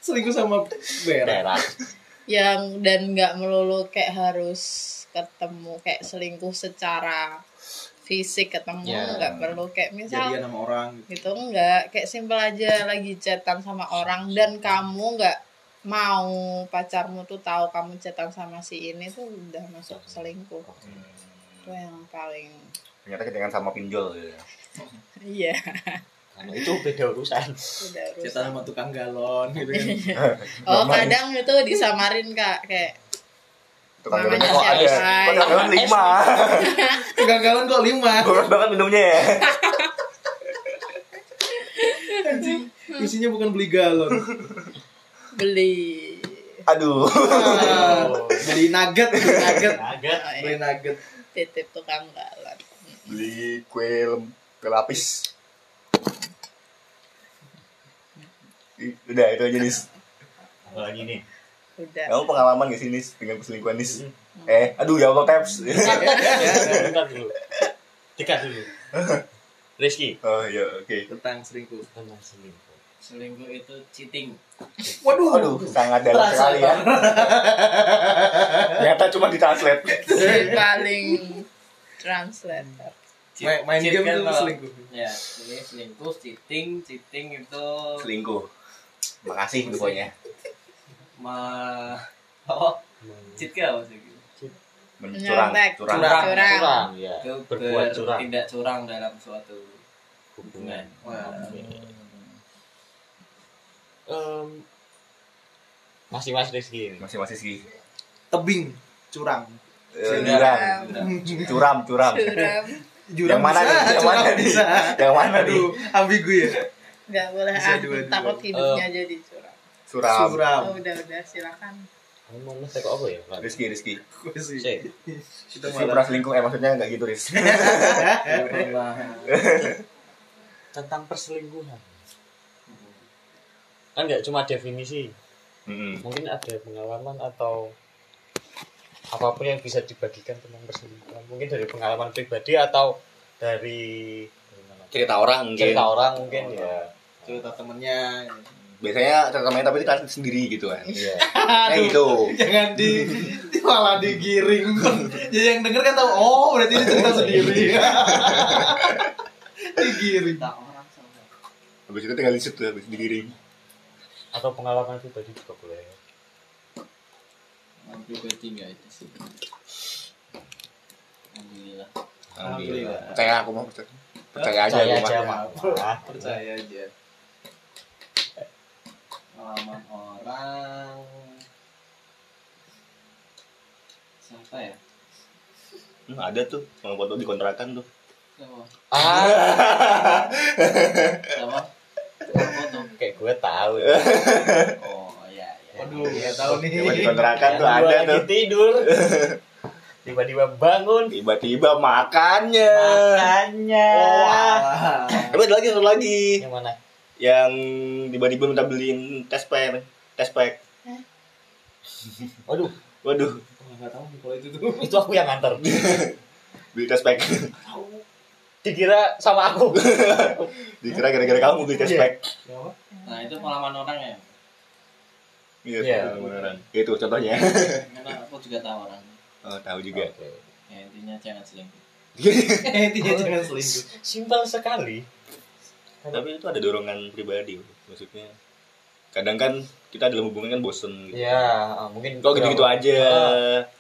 [SPEAKER 4] selingkuh sama berak
[SPEAKER 2] Daerah.
[SPEAKER 3] yang dan nggak melulu kayak harus ketemu kayak selingkuh secara fisik ketemu
[SPEAKER 2] Ya.
[SPEAKER 3] nggak perlu kayak misal
[SPEAKER 4] jadian sama orang gitu.
[SPEAKER 3] gitu enggak kayak simpel aja lagi chatan sama orang dan kamu enggak mau pacarmu tuh tahu kamu chatan sama si ini tuh udah masuk selingkuh
[SPEAKER 2] Hmm.
[SPEAKER 3] itu yang paling *laughs*
[SPEAKER 1] Ternyata ketinggalan sama pinjol. Ya.
[SPEAKER 3] iya
[SPEAKER 2] Kalau itu beda urusan.
[SPEAKER 3] udah rusak
[SPEAKER 4] cerita sama tukang galon
[SPEAKER 1] *laughs*
[SPEAKER 4] gitu kan
[SPEAKER 3] oh
[SPEAKER 2] ya.
[SPEAKER 3] kadang itu disamarin kak kayak
[SPEAKER 1] Tukang galon
[SPEAKER 3] Namanya
[SPEAKER 1] kok ada.
[SPEAKER 3] siapa?
[SPEAKER 1] Tukang galon *laughs* lima.
[SPEAKER 4] tukang galon kok lima
[SPEAKER 1] Boros banget minumnya ya. Hmm.
[SPEAKER 4] isinya bukan beli galon
[SPEAKER 1] *laughs*
[SPEAKER 3] beli
[SPEAKER 1] Aduh.
[SPEAKER 4] Ah, beli nugget beli
[SPEAKER 1] *laughs*
[SPEAKER 4] nugget
[SPEAKER 5] Agak.
[SPEAKER 1] iya.
[SPEAKER 3] oh,
[SPEAKER 4] beli
[SPEAKER 3] ya,
[SPEAKER 4] nugget
[SPEAKER 3] titip tukang galon
[SPEAKER 1] Beli kue lem- kue lapis. Ih, Udah itu aja Nis.
[SPEAKER 5] Apa lagi nih?
[SPEAKER 3] udah
[SPEAKER 1] Kamu pengalaman gak sih Nis dengan perselingkuhan Nis? Eh, aduh ya Allah taps. *laughs*
[SPEAKER 2] Bentar dulu.
[SPEAKER 5] Dekat dulu.
[SPEAKER 2] Rizky
[SPEAKER 1] oh iya, oke.
[SPEAKER 4] tentang selingkuh
[SPEAKER 2] tentang selingkuh.
[SPEAKER 6] selingkuh itu cheating
[SPEAKER 4] Waduh.
[SPEAKER 1] Waduh, sangat dalam sekali ya. Ternyata cuma ditranslate.
[SPEAKER 3] si paling translator
[SPEAKER 4] Main, main
[SPEAKER 6] Cheat
[SPEAKER 4] game
[SPEAKER 6] kan
[SPEAKER 4] tuh
[SPEAKER 6] kalau-
[SPEAKER 4] selingkuh.
[SPEAKER 6] ya ini selingkuh cheating cheating itu
[SPEAKER 1] Selingkuh. Makasih pokoknya.
[SPEAKER 6] ma oh cheat kan apa sih
[SPEAKER 1] Mencurang,
[SPEAKER 3] Nyontek.
[SPEAKER 1] Hmm, curang.
[SPEAKER 6] Curang.
[SPEAKER 2] Curang, ya.
[SPEAKER 6] itu
[SPEAKER 2] Berbuat curang.
[SPEAKER 6] bertindak curang dalam suatu
[SPEAKER 2] Hubungan.
[SPEAKER 6] Wah.
[SPEAKER 2] Em, masih mas Rizky.
[SPEAKER 1] Masih-masih sih.
[SPEAKER 4] Tebing, curang.
[SPEAKER 1] Eh,
[SPEAKER 6] Curang.
[SPEAKER 1] Curam, curam, curam.
[SPEAKER 3] suram
[SPEAKER 4] Jurang
[SPEAKER 1] Yang mana
[SPEAKER 4] bisa,
[SPEAKER 1] nih? Yang
[SPEAKER 4] curang
[SPEAKER 1] mana nih?
[SPEAKER 4] bisa.
[SPEAKER 1] Yang mana nih?
[SPEAKER 4] Aduh, ambigu ya.
[SPEAKER 3] nggak boleh
[SPEAKER 4] Bisa
[SPEAKER 3] ah
[SPEAKER 4] dua-dua. Ah.
[SPEAKER 3] takut hidupnya jadi curang
[SPEAKER 1] Suram.
[SPEAKER 3] oh,
[SPEAKER 4] Suram.
[SPEAKER 3] udah udah silakan
[SPEAKER 2] Kamu mau mas teko apa ya? Lan?
[SPEAKER 1] Rizky, Rizky.
[SPEAKER 4] Gue sih.
[SPEAKER 2] Sik.
[SPEAKER 4] Kita
[SPEAKER 1] Rizky pernah
[SPEAKER 4] malah.
[SPEAKER 1] selingkuh, eh maksudnya nggak gitu, *laughs* Riz.
[SPEAKER 6] Nggak pernah.
[SPEAKER 2] Tentang perselingkuhan.
[SPEAKER 1] Hmm.
[SPEAKER 2] Kan nggak cuma definisi.
[SPEAKER 1] Mm-mm.
[SPEAKER 2] Mungkin ada pengalaman atau apapun yang bisa dibagikan tentang perselingkuhan. Mungkin dari pengalaman pribadi atau dari
[SPEAKER 1] Cerita orang mungkin.
[SPEAKER 2] cerita orang mungkin ya.
[SPEAKER 4] Cerita temennya.
[SPEAKER 1] Biasanya cerita main tapi kita sendiri gitu kan. *laughs*
[SPEAKER 2] Iya.
[SPEAKER 1] Kayak gitu.
[SPEAKER 4] Jangan di, di malah digiring. Jadi yang denger kan tahu, oh berarti ini cerita *laughs* sendiri. digiring.
[SPEAKER 6] tak orang sama
[SPEAKER 1] Habis itu tinggal di situ, habis digiring.
[SPEAKER 2] Atau pengalaman pribadi juga boleh.
[SPEAKER 6] Yang pribadi
[SPEAKER 4] ya,
[SPEAKER 6] nggak itu sih alhamdulillah
[SPEAKER 4] Alhamdulillah.
[SPEAKER 1] Percaya aku mau percaya. Percaya aja
[SPEAKER 2] Saya
[SPEAKER 1] aku
[SPEAKER 2] aja
[SPEAKER 1] mah.
[SPEAKER 2] mah.
[SPEAKER 4] Percaya aja.
[SPEAKER 6] pengalaman orang siapa ya
[SPEAKER 1] Hmm, ada tuh, mau foto di kontrakan *laughs* tuh.
[SPEAKER 6] siapa
[SPEAKER 2] Ah,
[SPEAKER 6] siapa foto
[SPEAKER 2] kayak gue tahu. ya.
[SPEAKER 6] oh ya ya
[SPEAKER 4] Waduh, nggak Iya, tahu nih.
[SPEAKER 1] Yang di kontrakan tuh
[SPEAKER 2] Yang gua
[SPEAKER 1] ada
[SPEAKER 2] lagi
[SPEAKER 1] tuh.
[SPEAKER 2] *laughs* tidur. Tiba-tiba bangun.
[SPEAKER 1] Tiba-tiba makannya.
[SPEAKER 2] Makannya.
[SPEAKER 4] Wah.
[SPEAKER 1] Tapi ada lagi satu lagi
[SPEAKER 2] Yang mana?
[SPEAKER 1] yang tiba-tiba minta beliin tes pack, tes pack.
[SPEAKER 2] Waduh,
[SPEAKER 1] Waduh,
[SPEAKER 4] Wah, nggak tahu nih kalau itu tuh.
[SPEAKER 2] itu aku yang nganter.
[SPEAKER 1] beli tes pack. *laughs*
[SPEAKER 2] Dikira sama aku.
[SPEAKER 1] Dikira gara-gara kamu beli tes
[SPEAKER 2] Iya.
[SPEAKER 1] pack.
[SPEAKER 4] Siapa? *laughs*
[SPEAKER 6] nah itu pengalaman orang ya
[SPEAKER 1] Iya,
[SPEAKER 2] Iya.
[SPEAKER 1] beneran. Itu *laughs* contohnya.
[SPEAKER 6] karena aku juga tahu orang
[SPEAKER 1] Oh, tahu juga.
[SPEAKER 2] *laughs* Oke.
[SPEAKER 6] ya intinya jangan selingkuh
[SPEAKER 4] Eh, Intinya jangan selingkuh.
[SPEAKER 2] Simpel sekali.
[SPEAKER 1] Oh. Tapi itu ada dorongan pribadi, maksudnya. Kadang kan kita dalam hubungan kan bosen gitu.
[SPEAKER 2] Ya, ah, mungkin
[SPEAKER 1] Kok gitu-gitu aja.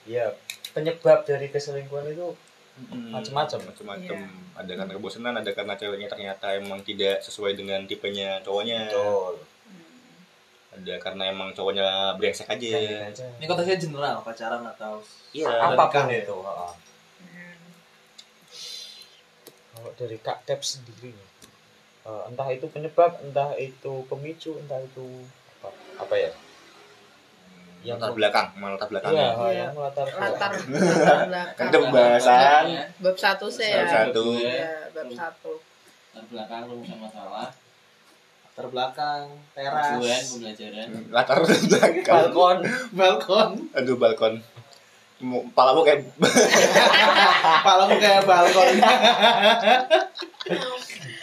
[SPEAKER 2] Iya. Penyebab dari keselingkuhan itu
[SPEAKER 1] Mm-mm.
[SPEAKER 2] Macem-macem.
[SPEAKER 1] Hmm,
[SPEAKER 2] Iya.
[SPEAKER 1] Macem-macem. Ada karena kebosanan, ada karena ceweknya ternyata emang tidak sesuai dengan tipenya cowoknya.
[SPEAKER 2] betul.
[SPEAKER 1] Ada karena emang cowoknya brengsek aja.
[SPEAKER 2] Iya. Ini
[SPEAKER 4] Ini konteksnya general, pacaran atau
[SPEAKER 1] Iya.
[SPEAKER 2] apapun
[SPEAKER 4] Nikah ya?
[SPEAKER 2] itu. ah, ah. Kalau dari Kak Tep sendiri, eh, entah itu penyebab, entah itu pemicu, entah itu apa, apa ya? Yang
[SPEAKER 1] Latar belakang, emang latar
[SPEAKER 2] Iya,
[SPEAKER 1] belakangnya.
[SPEAKER 2] hal
[SPEAKER 3] Iya.
[SPEAKER 2] yang latar
[SPEAKER 3] latar latar
[SPEAKER 1] Kan
[SPEAKER 3] belakang
[SPEAKER 1] itu pembahasan.
[SPEAKER 6] ya.
[SPEAKER 3] bab satu sih
[SPEAKER 1] Bab
[SPEAKER 3] ya
[SPEAKER 1] satu.
[SPEAKER 3] Ya, bab satu
[SPEAKER 6] terbelakang rumusnya masalah
[SPEAKER 4] terbelakang,
[SPEAKER 6] tujuan
[SPEAKER 4] teras,
[SPEAKER 6] pembelajaran
[SPEAKER 1] Latar belakang.
[SPEAKER 2] balkon.
[SPEAKER 4] balkon.
[SPEAKER 1] Aduh, balkon. Mu- Kepalamu kayak
[SPEAKER 4] Kepalamu Nah, kayak balkon.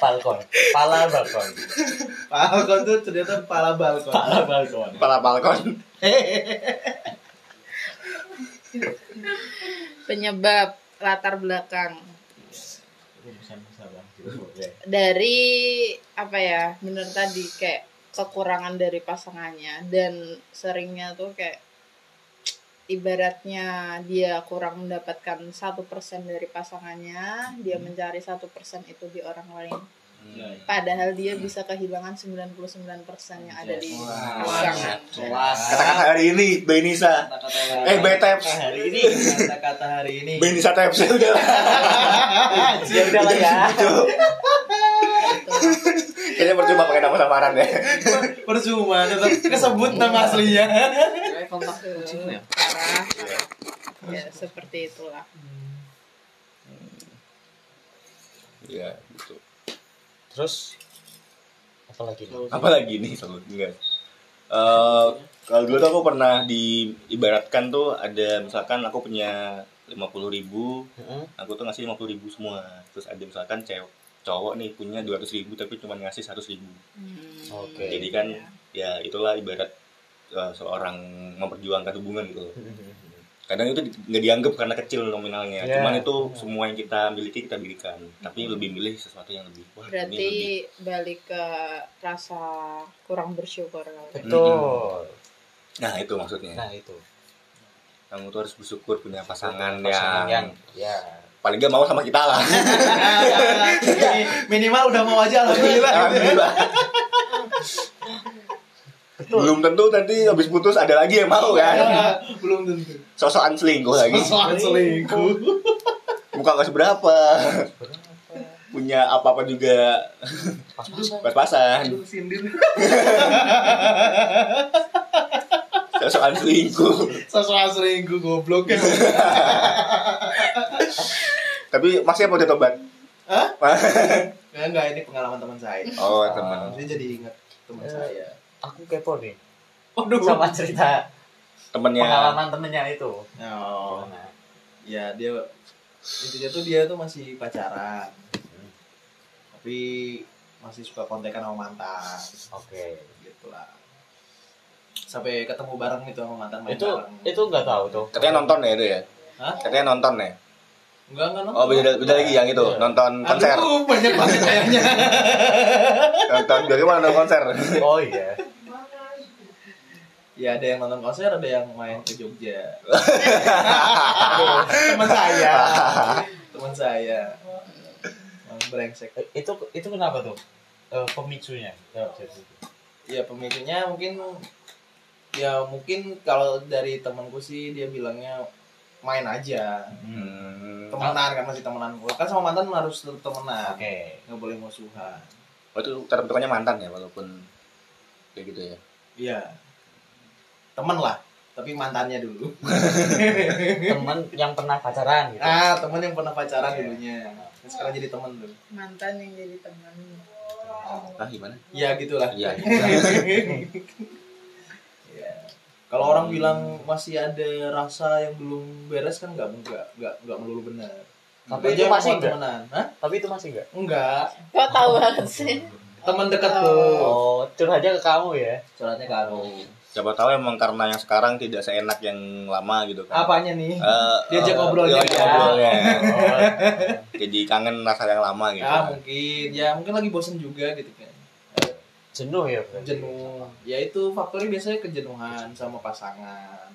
[SPEAKER 2] balkon pala balkon
[SPEAKER 4] balkon tuh ternyata kepala balkon.
[SPEAKER 2] pala balkon
[SPEAKER 1] kepala balkon.
[SPEAKER 3] penyebab latar belakang
[SPEAKER 2] urusan masalah Oke.
[SPEAKER 3] dari apa ya bener tadi kayak kekurangan dari pasangannya dan seringnya tuh kayak ibaratnya dia kurang mendapatkan satu persen dari pasangannya dia
[SPEAKER 6] Hmm.
[SPEAKER 3] mencari satu persen itu di orang lain
[SPEAKER 6] Iya,
[SPEAKER 3] padahal dia bisa kehilangan 99% yang ada di
[SPEAKER 6] Iya. Wah.
[SPEAKER 3] pasangan
[SPEAKER 6] kelas
[SPEAKER 1] Katakan hari ini, Benisa.
[SPEAKER 6] kata-kata
[SPEAKER 1] Eh, Beteps.
[SPEAKER 6] hari ini kata-kata hari ini
[SPEAKER 1] Benisa Teps. Udah lah.
[SPEAKER 6] *laughs*
[SPEAKER 2] ya udah lah ya
[SPEAKER 1] Cuk. Kayaknya percuma pakai nama samaran ya.
[SPEAKER 4] Percuma, tetap kesebut nama aslinya.
[SPEAKER 6] Eh, kontak kucing ya
[SPEAKER 3] parah ya seperti itulah
[SPEAKER 1] Iya, gitu.
[SPEAKER 2] terus apa lagi nih?
[SPEAKER 1] apalagi nih selalu enggak Eh, kalau dulu tuh aku pernah diibaratkan tuh ada misalkan aku punya 50.000 ribu
[SPEAKER 2] Heeh.
[SPEAKER 1] aku tuh ngasih 50.000 ribu semua terus ada misalkan cewek cowok nih punya 200 ribu tapi cuma ngasih 100 ribu
[SPEAKER 3] Hmm.
[SPEAKER 2] Oke.
[SPEAKER 1] jadi kan ya
[SPEAKER 6] Iya.
[SPEAKER 1] itulah ibarat eh, seorang memperjuangkan hubungan gitu loh. kadang itu di- nggak dianggap karena kecil nominalnya
[SPEAKER 2] Ya.
[SPEAKER 1] cuman itu semua yang kita miliki kita berikan tapi lebih milih sesuatu yang lebih wah
[SPEAKER 3] Berarti
[SPEAKER 1] ini lebih
[SPEAKER 3] balik ke rasa kurang bersyukur.
[SPEAKER 2] Betul.
[SPEAKER 1] nah itu maksudnya
[SPEAKER 2] Nah itu.
[SPEAKER 1] kamu tuh harus bersyukur punya pasangan,
[SPEAKER 2] Pasangan
[SPEAKER 1] yang, Iya,
[SPEAKER 2] ya.
[SPEAKER 1] paling gak mau sama kita lah
[SPEAKER 4] minimal udah mau aja alhamdulillah
[SPEAKER 1] Alhamdulillah. belum tentu nanti habis putus ada lagi yang mau kan
[SPEAKER 4] Ah, belum tentu
[SPEAKER 1] sosokan selingkuh lagi
[SPEAKER 4] soal selingkuh
[SPEAKER 1] muka gak seberapa
[SPEAKER 2] Berapa?
[SPEAKER 1] punya apa-apa juga
[SPEAKER 2] Pas-pasan.
[SPEAKER 1] pas-pasan
[SPEAKER 4] Aduh, sindir
[SPEAKER 1] sosokan selingkuh
[SPEAKER 4] soal selingkuh goblok ya
[SPEAKER 1] tapi masih mau ditobat
[SPEAKER 4] Hah? Enggak, enggak ini pengalaman teman saya
[SPEAKER 1] oh teman
[SPEAKER 4] Ini jadi ingat
[SPEAKER 2] Eh.
[SPEAKER 4] teman saya
[SPEAKER 2] Aku kepo
[SPEAKER 4] *laughs*
[SPEAKER 2] nih
[SPEAKER 4] Waduh.
[SPEAKER 2] sama cerita
[SPEAKER 1] temennya
[SPEAKER 2] pengalaman temennya itu.
[SPEAKER 4] Oh,
[SPEAKER 2] Nah,
[SPEAKER 4] ya dia intinya tuh dia tuh masih pacaran. Tapi masih suka kontekan sama mantan
[SPEAKER 2] Oke.
[SPEAKER 4] gitu lah. Sampai ketemu bareng itu sama mantan main
[SPEAKER 2] Itu
[SPEAKER 4] bareng.
[SPEAKER 2] itu nggak tahu tuh.
[SPEAKER 1] katanya nonton ya itu ya
[SPEAKER 4] Hah?
[SPEAKER 1] katanya nonton ya
[SPEAKER 4] Enggak enggak nonton.
[SPEAKER 1] oh beda beda lagi yang itu
[SPEAKER 2] Iya.
[SPEAKER 1] nonton konser
[SPEAKER 4] Aduh, banyak banget kayaknya.
[SPEAKER 1] *laughs* nonton bagaimana nonton konser
[SPEAKER 2] *laughs* Oh iya.
[SPEAKER 4] ya ada yang nonton konser, ada yang main ke Jogja. teman saya. Teman saya. Emang Brengsek.
[SPEAKER 2] Eh, Itu itu kenapa tuh? Eh, pemicunya. Ya, jadi.
[SPEAKER 4] ya pemicunya mungkin ya mungkin kalau dari temanku sih dia bilangnya main aja
[SPEAKER 1] hmm.
[SPEAKER 4] temenan kan masih temenan kan sama mantan harus tetap temenan
[SPEAKER 2] Oke.
[SPEAKER 4] nggak boleh musuhan
[SPEAKER 1] Oh, itu terbentukannya mantan ya walaupun kayak gitu ya
[SPEAKER 4] iya temen lah tapi mantannya dulu
[SPEAKER 2] Teman yang pernah pacaran gitu.
[SPEAKER 4] ah temen yang pernah pacaran
[SPEAKER 2] Iya.
[SPEAKER 4] dulunya Kan sekarang jadi temen tuh
[SPEAKER 3] Mantan yang jadi teman.
[SPEAKER 1] ah gimana
[SPEAKER 4] ya gitulah
[SPEAKER 1] iya
[SPEAKER 4] Iya. kalau orang
[SPEAKER 2] Hmm.
[SPEAKER 4] bilang masih ada rasa yang belum beres kan nggak nggak nggak nggak melulu benar
[SPEAKER 2] Tapi
[SPEAKER 4] Aja
[SPEAKER 2] itu
[SPEAKER 4] yang
[SPEAKER 2] masih
[SPEAKER 4] kuat
[SPEAKER 2] enggak?
[SPEAKER 4] temenan Hah?
[SPEAKER 2] Tapi itu masih enggak?
[SPEAKER 4] enggak
[SPEAKER 3] Kok tahu banget sih?
[SPEAKER 4] teman dekatku
[SPEAKER 2] Oh, curhatnya ke kamu
[SPEAKER 4] *laughs*
[SPEAKER 2] ya.
[SPEAKER 4] curhatnya ke aku
[SPEAKER 1] siapa tahu emang karena yang sekarang tidak seenak yang lama gitu kan
[SPEAKER 4] apanya nih
[SPEAKER 1] Eh,
[SPEAKER 4] Diajak
[SPEAKER 1] eh,
[SPEAKER 4] ngobrolnya. Ah.
[SPEAKER 1] diajak ngobrolnya.
[SPEAKER 2] Oh,
[SPEAKER 1] jadi kangen rasa yang lama gitu
[SPEAKER 4] ya mungkin ya mungkin lagi bosen juga gitu kan
[SPEAKER 2] jenuh ya berarti.
[SPEAKER 4] jenuh ya itu faktornya biasanya kejenuhan sama pasangan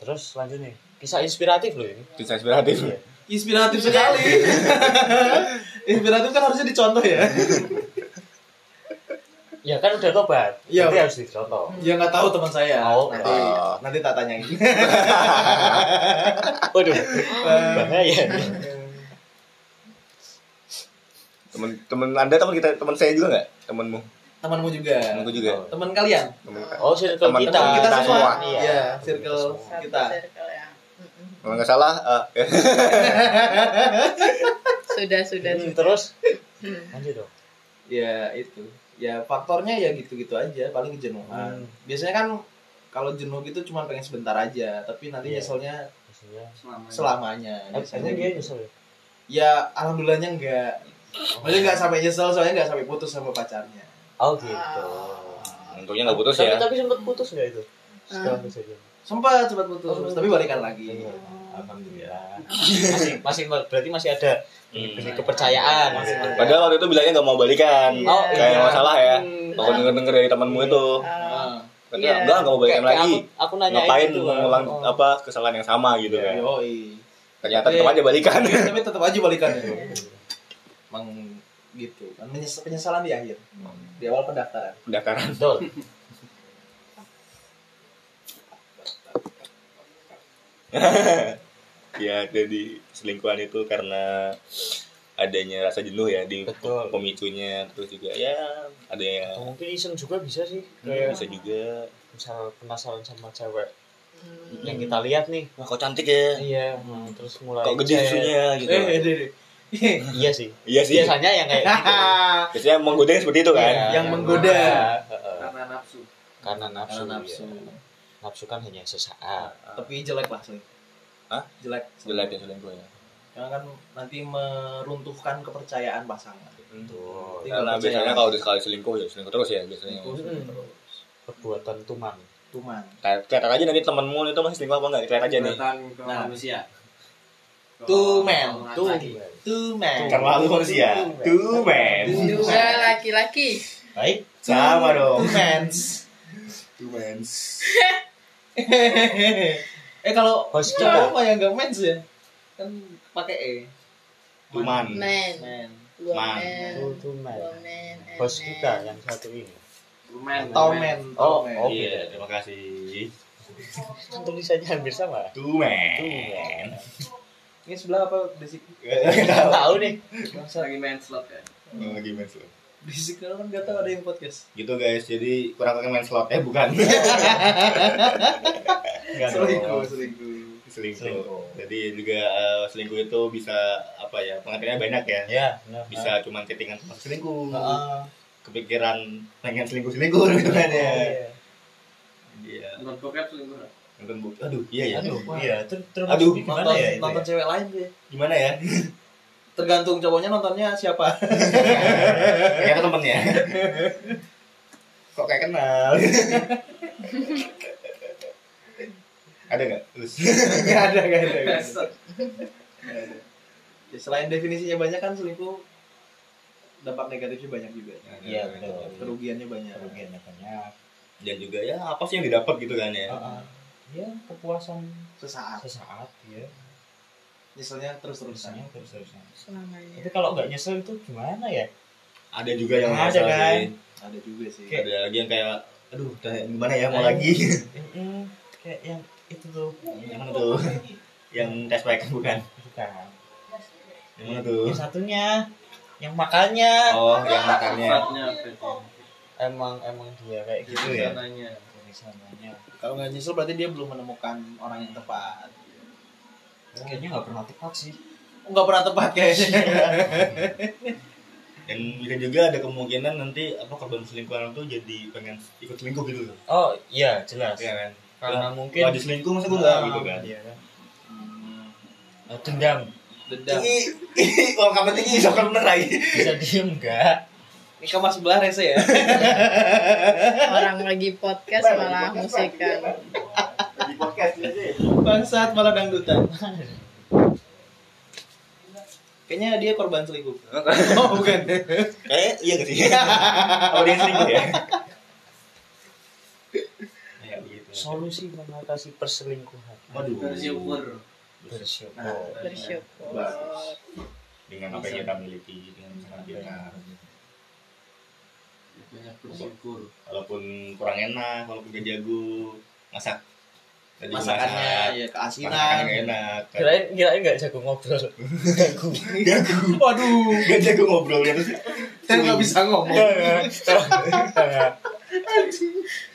[SPEAKER 2] Terus lanjut nih. Kisah inspiratif loh ini.
[SPEAKER 1] bisa inspiratif
[SPEAKER 2] Iya.
[SPEAKER 4] inspiratif
[SPEAKER 2] *laughs*
[SPEAKER 4] sekali inspiratif kan harusnya dicontoh ya
[SPEAKER 2] Ya kan udah tobat.
[SPEAKER 4] Iya.
[SPEAKER 2] Berarti harus dicontoh.
[SPEAKER 4] ya nggak tahu teman saya
[SPEAKER 2] Oh.
[SPEAKER 4] nanti nanti
[SPEAKER 2] *laughs*
[SPEAKER 4] tak tanyain
[SPEAKER 2] Waduh. Bahaya.
[SPEAKER 1] temen temen anda teman kita teman saya juga nggak temenmu
[SPEAKER 4] temanmu juga
[SPEAKER 1] temanku juga
[SPEAKER 4] teman kalian
[SPEAKER 1] temen
[SPEAKER 2] Oh, circle
[SPEAKER 1] Teman-teman
[SPEAKER 2] kita.
[SPEAKER 1] kita semua.
[SPEAKER 2] Iya.
[SPEAKER 4] Iya, circle
[SPEAKER 3] Satu
[SPEAKER 4] Kita.
[SPEAKER 3] circle ya. Mm-mm.
[SPEAKER 1] kalau nggak salah eh,
[SPEAKER 3] Sudah sudah
[SPEAKER 2] Hmm,
[SPEAKER 3] sudah.
[SPEAKER 2] terus
[SPEAKER 3] Hmm.
[SPEAKER 2] lanjut dong.
[SPEAKER 4] ya itu ya faktornya ya gitu-gitu aja paling kejenuhan
[SPEAKER 2] Hmm.
[SPEAKER 4] biasanya kan kalau jenuh gitu cuma pengen sebentar aja tapi nanti
[SPEAKER 2] Iya.
[SPEAKER 4] nyeselnya
[SPEAKER 2] Maksudnya.
[SPEAKER 4] selamanya
[SPEAKER 2] Eh,
[SPEAKER 4] biasanya
[SPEAKER 2] Emang dia
[SPEAKER 4] gitu.
[SPEAKER 2] nyesel ya?
[SPEAKER 4] ya alhamdulillahnya enggak maksudnya enggak sampai nyesel soalnya enggak sampai putus sama pacarnya
[SPEAKER 2] Oh gitu.
[SPEAKER 1] untungnya nggak putus
[SPEAKER 2] Tapi
[SPEAKER 1] ya
[SPEAKER 2] tapi sempat putus nggak
[SPEAKER 4] Ah.
[SPEAKER 2] itu? Setelah kejadian.
[SPEAKER 4] sempat sempat putus
[SPEAKER 2] Oh.
[SPEAKER 4] tapi balikan lagi
[SPEAKER 2] Iya. Alhamdulillah. Nah, Masih masih berarti masih ada
[SPEAKER 1] Hmm.
[SPEAKER 2] diberi Gitu kepercayaan.
[SPEAKER 4] Masih
[SPEAKER 2] gitu.
[SPEAKER 4] ada.
[SPEAKER 1] padahal waktu itu bilangnya nggak mau balikan
[SPEAKER 3] Iya.
[SPEAKER 2] Oh,
[SPEAKER 1] Iya, kayak
[SPEAKER 2] iya.
[SPEAKER 1] masalah ya
[SPEAKER 2] Hmm.
[SPEAKER 1] kalau denger denger dari temanmu itu
[SPEAKER 3] Ah,
[SPEAKER 4] Ah,
[SPEAKER 1] kata
[SPEAKER 3] Iya.
[SPEAKER 1] enggak nggak mau
[SPEAKER 2] Kayak-
[SPEAKER 1] balikan
[SPEAKER 2] kayak
[SPEAKER 1] lagi
[SPEAKER 2] Aku, aku nanya gitu Iya.
[SPEAKER 1] ngapain
[SPEAKER 2] itu. Bang.
[SPEAKER 1] mengulang
[SPEAKER 2] Oh.
[SPEAKER 1] apa kesalahan yang sama gitu
[SPEAKER 2] ya.
[SPEAKER 1] kan
[SPEAKER 4] yoi.
[SPEAKER 1] ternyata tetap
[SPEAKER 2] Iya.
[SPEAKER 1] aja
[SPEAKER 2] Kan.
[SPEAKER 1] balikan *laughs*
[SPEAKER 4] *laughs* tapi tetap aja balikan ya emang gitu kan Menyes- penyesalan di akhir
[SPEAKER 2] Hmm.
[SPEAKER 4] di awal pendaftaran
[SPEAKER 1] pendaftaran
[SPEAKER 2] Betul.
[SPEAKER 1] ya jadi selingkuhan itu karena adanya rasa jenuh ya di
[SPEAKER 2] Betul.
[SPEAKER 1] pemicunya terus juga ya ada yang
[SPEAKER 2] Atau Oh, mungkin iseng juga bisa sih.
[SPEAKER 1] hmm,
[SPEAKER 2] Kayak
[SPEAKER 1] bisa juga
[SPEAKER 2] misal penasaran sama cewek
[SPEAKER 3] hmm.
[SPEAKER 2] yang kita lihat nih.
[SPEAKER 1] wah kok cantik ya
[SPEAKER 2] Iya, hmm, terus mulai
[SPEAKER 1] kok gede
[SPEAKER 2] chat.
[SPEAKER 1] susunya gitu
[SPEAKER 4] eh eh, eh, eh.
[SPEAKER 2] Iya sih.
[SPEAKER 1] iya sih
[SPEAKER 2] Biasanya yang kayak
[SPEAKER 1] *laughs*
[SPEAKER 2] gitu.
[SPEAKER 1] biasanya menggoda Kan? yang seperti itu kan
[SPEAKER 2] Iya,
[SPEAKER 4] yang menggoda.
[SPEAKER 2] Heeh.
[SPEAKER 4] karena nafsu
[SPEAKER 2] Karena nafsu.
[SPEAKER 4] karena nafsu
[SPEAKER 2] iya. Nafsu kan hanya sesaat.
[SPEAKER 4] tapi jelek lah sih
[SPEAKER 1] Hah?
[SPEAKER 4] jelek
[SPEAKER 1] jelek ya selingkuh ya
[SPEAKER 4] yang akan nanti meruntuhkan kepercayaan pasangan
[SPEAKER 2] Hmm.
[SPEAKER 1] Betul.
[SPEAKER 2] Iya,
[SPEAKER 4] Tinggal
[SPEAKER 1] Karena
[SPEAKER 4] percaya.
[SPEAKER 1] biasanya kalau udah sekali selingkuh ya selingkuh terus ya biasanya.
[SPEAKER 4] Selingkuh, selingkuh terus
[SPEAKER 2] perbuatan tuman
[SPEAKER 4] tuman
[SPEAKER 1] Kayak kelihatan aja nanti temenmu itu masih selingkuh apa enggak? Kelihatan aja nih.
[SPEAKER 6] Kelihatan ke
[SPEAKER 4] Nah.
[SPEAKER 6] manusia.
[SPEAKER 4] Tuh, men.
[SPEAKER 6] Orang
[SPEAKER 2] tuh
[SPEAKER 6] lagi.
[SPEAKER 4] tuman
[SPEAKER 1] Karena lu manusia. Two men.
[SPEAKER 3] Juga laki-laki.
[SPEAKER 2] baik
[SPEAKER 1] Sama dong.
[SPEAKER 4] tumans
[SPEAKER 1] Two men.
[SPEAKER 4] eh kalau
[SPEAKER 2] Host
[SPEAKER 4] cowok mah yang gak mens ya kan pakai e
[SPEAKER 1] Tuman.
[SPEAKER 3] Men.
[SPEAKER 4] men
[SPEAKER 3] Dua
[SPEAKER 1] Man.
[SPEAKER 3] men.
[SPEAKER 2] tuh tuman
[SPEAKER 3] Dua men. ya. and
[SPEAKER 2] bos
[SPEAKER 3] men.
[SPEAKER 2] kita yang satu ini
[SPEAKER 6] Lumen.
[SPEAKER 4] tomen
[SPEAKER 2] Oh,
[SPEAKER 4] tomen.
[SPEAKER 2] oh.
[SPEAKER 1] Iya, terima kasih.
[SPEAKER 2] kan tulisannya hampir
[SPEAKER 1] *laughs*
[SPEAKER 2] sama
[SPEAKER 1] Two men.
[SPEAKER 4] ini sebelah apa basic
[SPEAKER 2] nggak tahu nih
[SPEAKER 6] Lagi main slot ya.
[SPEAKER 1] Lagi men slot.
[SPEAKER 4] basic kalau kan gak tau ada yang podcast
[SPEAKER 1] Gitu guys, jadi kurang kurang main slot. Eh bukan. *laughs* Enggak dong.
[SPEAKER 4] selingkuh selingkuh
[SPEAKER 1] selingkuh.
[SPEAKER 2] Selingkuh.
[SPEAKER 1] Jadi juga eh, selingkuh itu bisa apa ya? Pengertiannya banyak ya.
[SPEAKER 2] ya benar.
[SPEAKER 1] Bisa cuman chattingan sama selingkuh.
[SPEAKER 2] Ah,
[SPEAKER 1] Kepikiran pengen selingkuh-selingkuh gitu kan ya.
[SPEAKER 2] iya.
[SPEAKER 1] Iya.
[SPEAKER 6] Menurut gue kan selingkuh. lah.
[SPEAKER 1] Nonton bokep. Aduh, iya ya.
[SPEAKER 2] aduh iya ter terus
[SPEAKER 1] Aduh,
[SPEAKER 2] gimana ya itu
[SPEAKER 4] nonton
[SPEAKER 2] ya?
[SPEAKER 4] cewek lain deh
[SPEAKER 1] Gimana ya?
[SPEAKER 4] tergantung cowoknya nontonnya
[SPEAKER 2] *laughs*
[SPEAKER 4] siapa
[SPEAKER 1] Ternyata temennya. Kok kayak kenal. *laughs* Ada nggak? Terus.
[SPEAKER 4] gak ada gak ada, nggak ada.
[SPEAKER 6] Set.
[SPEAKER 4] Ya, selain definisinya banyak kan selingkuh dampak negatifnya banyak juga
[SPEAKER 2] Iya, betul.
[SPEAKER 4] kerugiannya banyak
[SPEAKER 2] kerugiannya banyak
[SPEAKER 1] Dan juga ya apa sih yang didapat gitu kan ya?
[SPEAKER 2] Ah, ah. ya kepuasan
[SPEAKER 4] sesaat
[SPEAKER 2] sesaat ya
[SPEAKER 4] nyeselnya terus terusan
[SPEAKER 2] terusannya terus terusan
[SPEAKER 3] Selamanya.
[SPEAKER 2] tapi kalau nggak nyesel itu gimana ya
[SPEAKER 1] Ada juga yang
[SPEAKER 2] Ada
[SPEAKER 1] ngerasa
[SPEAKER 2] kan?
[SPEAKER 1] sih.
[SPEAKER 4] ada juga sih
[SPEAKER 2] Kayak-
[SPEAKER 1] Ada lagi yang kayak aduh udah gimana ya mau
[SPEAKER 2] Ayo.
[SPEAKER 1] lagi *laughs*
[SPEAKER 2] Mm-mm. kayak yang itu tuh
[SPEAKER 1] yang mana tuh yang cashback bukan
[SPEAKER 2] bukan
[SPEAKER 1] yang mana tuh
[SPEAKER 2] yang satunya yang makannya
[SPEAKER 1] oh yang
[SPEAKER 4] Iya.
[SPEAKER 1] makannya
[SPEAKER 6] Slotnya ya. berarti.
[SPEAKER 2] emang emang dia kayak gitu
[SPEAKER 6] Gitu
[SPEAKER 2] ya
[SPEAKER 6] sananya.
[SPEAKER 2] tulisannya
[SPEAKER 4] kalau nggak nyesel berarti dia belum menemukan orang yang tepat
[SPEAKER 2] kayaknya nggak pernah tepat sih
[SPEAKER 4] nggak pernah tepat kayaknya
[SPEAKER 1] dan bisa juga ada kemungkinan nanti apa korban selingkuhan tuh jadi pengen ikut selingkuh gitu loh
[SPEAKER 2] oh iya jelas
[SPEAKER 1] Iya kan
[SPEAKER 2] karena
[SPEAKER 1] mungkin
[SPEAKER 2] mungkin
[SPEAKER 1] lagi selingkuh masa gue nggak
[SPEAKER 2] Ah,
[SPEAKER 1] gitu kan
[SPEAKER 2] iya Eh, dendam
[SPEAKER 4] dendam
[SPEAKER 1] ih kalau kamu tinggi sokar bener lagi
[SPEAKER 2] bisa diem nggak
[SPEAKER 4] ini kamar sebelah rese ya
[SPEAKER 3] Orang lagi podcast malah kan. musikan.
[SPEAKER 1] di podcast aja
[SPEAKER 4] bangsat malah dangdutan kayaknya dia korban
[SPEAKER 1] *laughs*
[SPEAKER 4] selingkuh oh bukan
[SPEAKER 1] eh iya *laughs* gak sih kalau dia selingkuh ya ya begitu
[SPEAKER 2] solusi mengatasi perselingkuhan
[SPEAKER 1] waduh
[SPEAKER 6] Bersyukur. Oh.
[SPEAKER 2] bersyukur
[SPEAKER 4] Nah,
[SPEAKER 3] Bersyukur.
[SPEAKER 1] dengan apa yang kita miliki dengan pasangan kita
[SPEAKER 6] Banyak bersyukur.
[SPEAKER 1] walaupun kurang enak walaupun gak jago masak Tadi masak,
[SPEAKER 4] masakannya ya
[SPEAKER 1] masakannya gak
[SPEAKER 4] keasinan
[SPEAKER 1] enak
[SPEAKER 2] kirain kirain nggak jago ngobrol jago
[SPEAKER 1] jago
[SPEAKER 4] waduh
[SPEAKER 1] gak jago ngobrolnya *laughs* terus
[SPEAKER 4] kita nggak bisa ngomong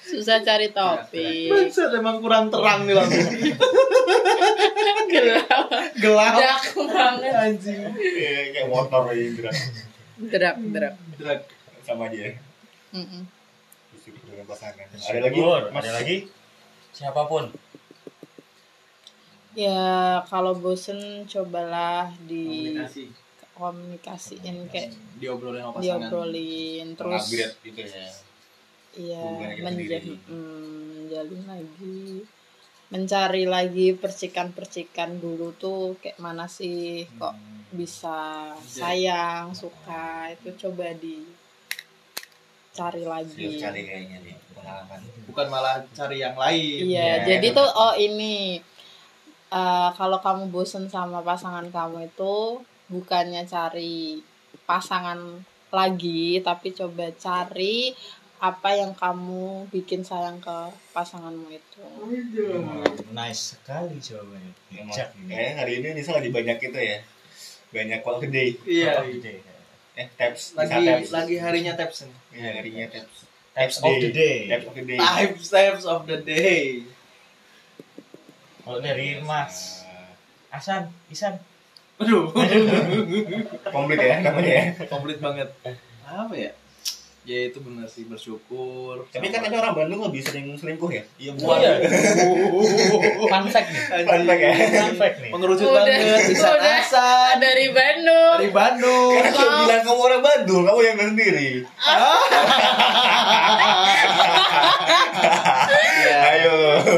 [SPEAKER 3] Susah cari topik.
[SPEAKER 4] bangsat emang kurang terang nih lampu
[SPEAKER 3] Gelap.
[SPEAKER 4] gelap
[SPEAKER 3] Dak banget.
[SPEAKER 4] anjing
[SPEAKER 1] Iya, kayak motor aja gerak
[SPEAKER 3] Derap, derap.
[SPEAKER 4] drag
[SPEAKER 1] sama aja ya.
[SPEAKER 3] Mm-mm.
[SPEAKER 1] bersyukur dengan pasangan ada lagi
[SPEAKER 2] ada lagi *laughs* siapapun
[SPEAKER 3] Ya kalau bosen cobalah di
[SPEAKER 6] Komunikasi.
[SPEAKER 3] komunikasiin kayak
[SPEAKER 4] diobrolin sama pasangan
[SPEAKER 3] diobrolin
[SPEAKER 1] terus
[SPEAKER 3] terus
[SPEAKER 1] upgrade gitu ya
[SPEAKER 3] iya
[SPEAKER 1] hubungan kita
[SPEAKER 3] menja-
[SPEAKER 1] sendiri.
[SPEAKER 3] mm, menjalin lagi mencari lagi percikan-percikan dulu tuh kayak mana sih kok
[SPEAKER 1] Hmm.
[SPEAKER 3] bisa
[SPEAKER 1] Iya.
[SPEAKER 3] sayang suka itu coba di cari lagi
[SPEAKER 1] Serius cari kayaknya nih pengalaman
[SPEAKER 4] bukan malah cari yang lain
[SPEAKER 3] Iya,
[SPEAKER 1] Ya.
[SPEAKER 3] jadi tuh oh ini eh, kalau kamu bosen sama pasangan kamu itu bukannya cari pasangan lagi, tapi coba cari apa yang kamu bikin sayang ke pasanganmu itu.
[SPEAKER 4] Iya.
[SPEAKER 2] nice sekali jawabannya
[SPEAKER 1] Emang,
[SPEAKER 2] Jack.
[SPEAKER 1] kayaknya hari ini Nisa lagi banyak itu ya banyak call today
[SPEAKER 4] iya
[SPEAKER 2] Of the day.
[SPEAKER 1] eh taps Nisa
[SPEAKER 4] lagi
[SPEAKER 1] taps
[SPEAKER 4] lagi harinya tabs nih
[SPEAKER 1] ya harinya taps
[SPEAKER 2] Types of the day.
[SPEAKER 1] taps of the day
[SPEAKER 4] Types, types of the day.
[SPEAKER 2] Kalau dari Mas Asan, Isan,
[SPEAKER 4] Aduh,
[SPEAKER 1] *laughs* komplit ya namanya ya *laughs*
[SPEAKER 4] komplit banget. Apa ya? ya itu benar sih bersyukur
[SPEAKER 1] Tapi kan
[SPEAKER 4] *laughs*
[SPEAKER 1] katanya orang Bandung lebih sering selingkuh ya? Iya,
[SPEAKER 2] bukan.
[SPEAKER 1] Iya.
[SPEAKER 2] Fun fact nih.
[SPEAKER 1] Fun fact ya?
[SPEAKER 2] Fun fact nih.
[SPEAKER 4] mengerucut
[SPEAKER 3] Udah,
[SPEAKER 4] banget bisa
[SPEAKER 3] udah.
[SPEAKER 4] asal
[SPEAKER 3] dari Bandung
[SPEAKER 4] dari Bandung
[SPEAKER 1] Kan dia *laughs* bilang kamu orang Bandung, kamu yang nggak sendiri.
[SPEAKER 4] ya,
[SPEAKER 1] Ayo.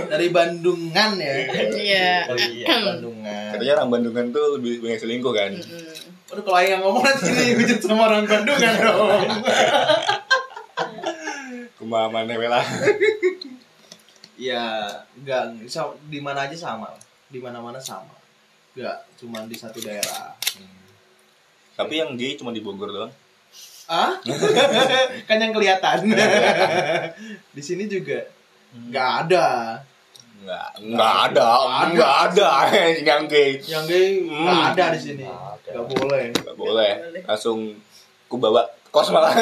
[SPEAKER 4] dari Bandungan ya
[SPEAKER 3] Iya.
[SPEAKER 4] dari Bandungan
[SPEAKER 1] Katanya orang Oh Bandungan tuh lebih banyak selingkuh kan?
[SPEAKER 3] Mm-mm.
[SPEAKER 4] Aduh kalau ayah ngomong nanti dihujat sama orang Bandungan dong
[SPEAKER 1] Kemahaman
[SPEAKER 4] *laughs*
[SPEAKER 1] lah.
[SPEAKER 4] ya nggak bisa di mana aja sama lah. di mana mana sama nggak cuma di satu daerah
[SPEAKER 1] Tapi yang gay cuma di Bogor doang.
[SPEAKER 4] ah *laughs* kan yang *laughs* kelihatan di sini juga nggak ada
[SPEAKER 1] Nggak, nggak ada, nggak ada *laughs* yang gay.
[SPEAKER 4] yang gay nggak
[SPEAKER 1] Hmm.
[SPEAKER 4] ada di sini
[SPEAKER 2] Nggak ada.
[SPEAKER 4] nggak boleh
[SPEAKER 1] Nggak boleh. Langsung ku bawa kos malah.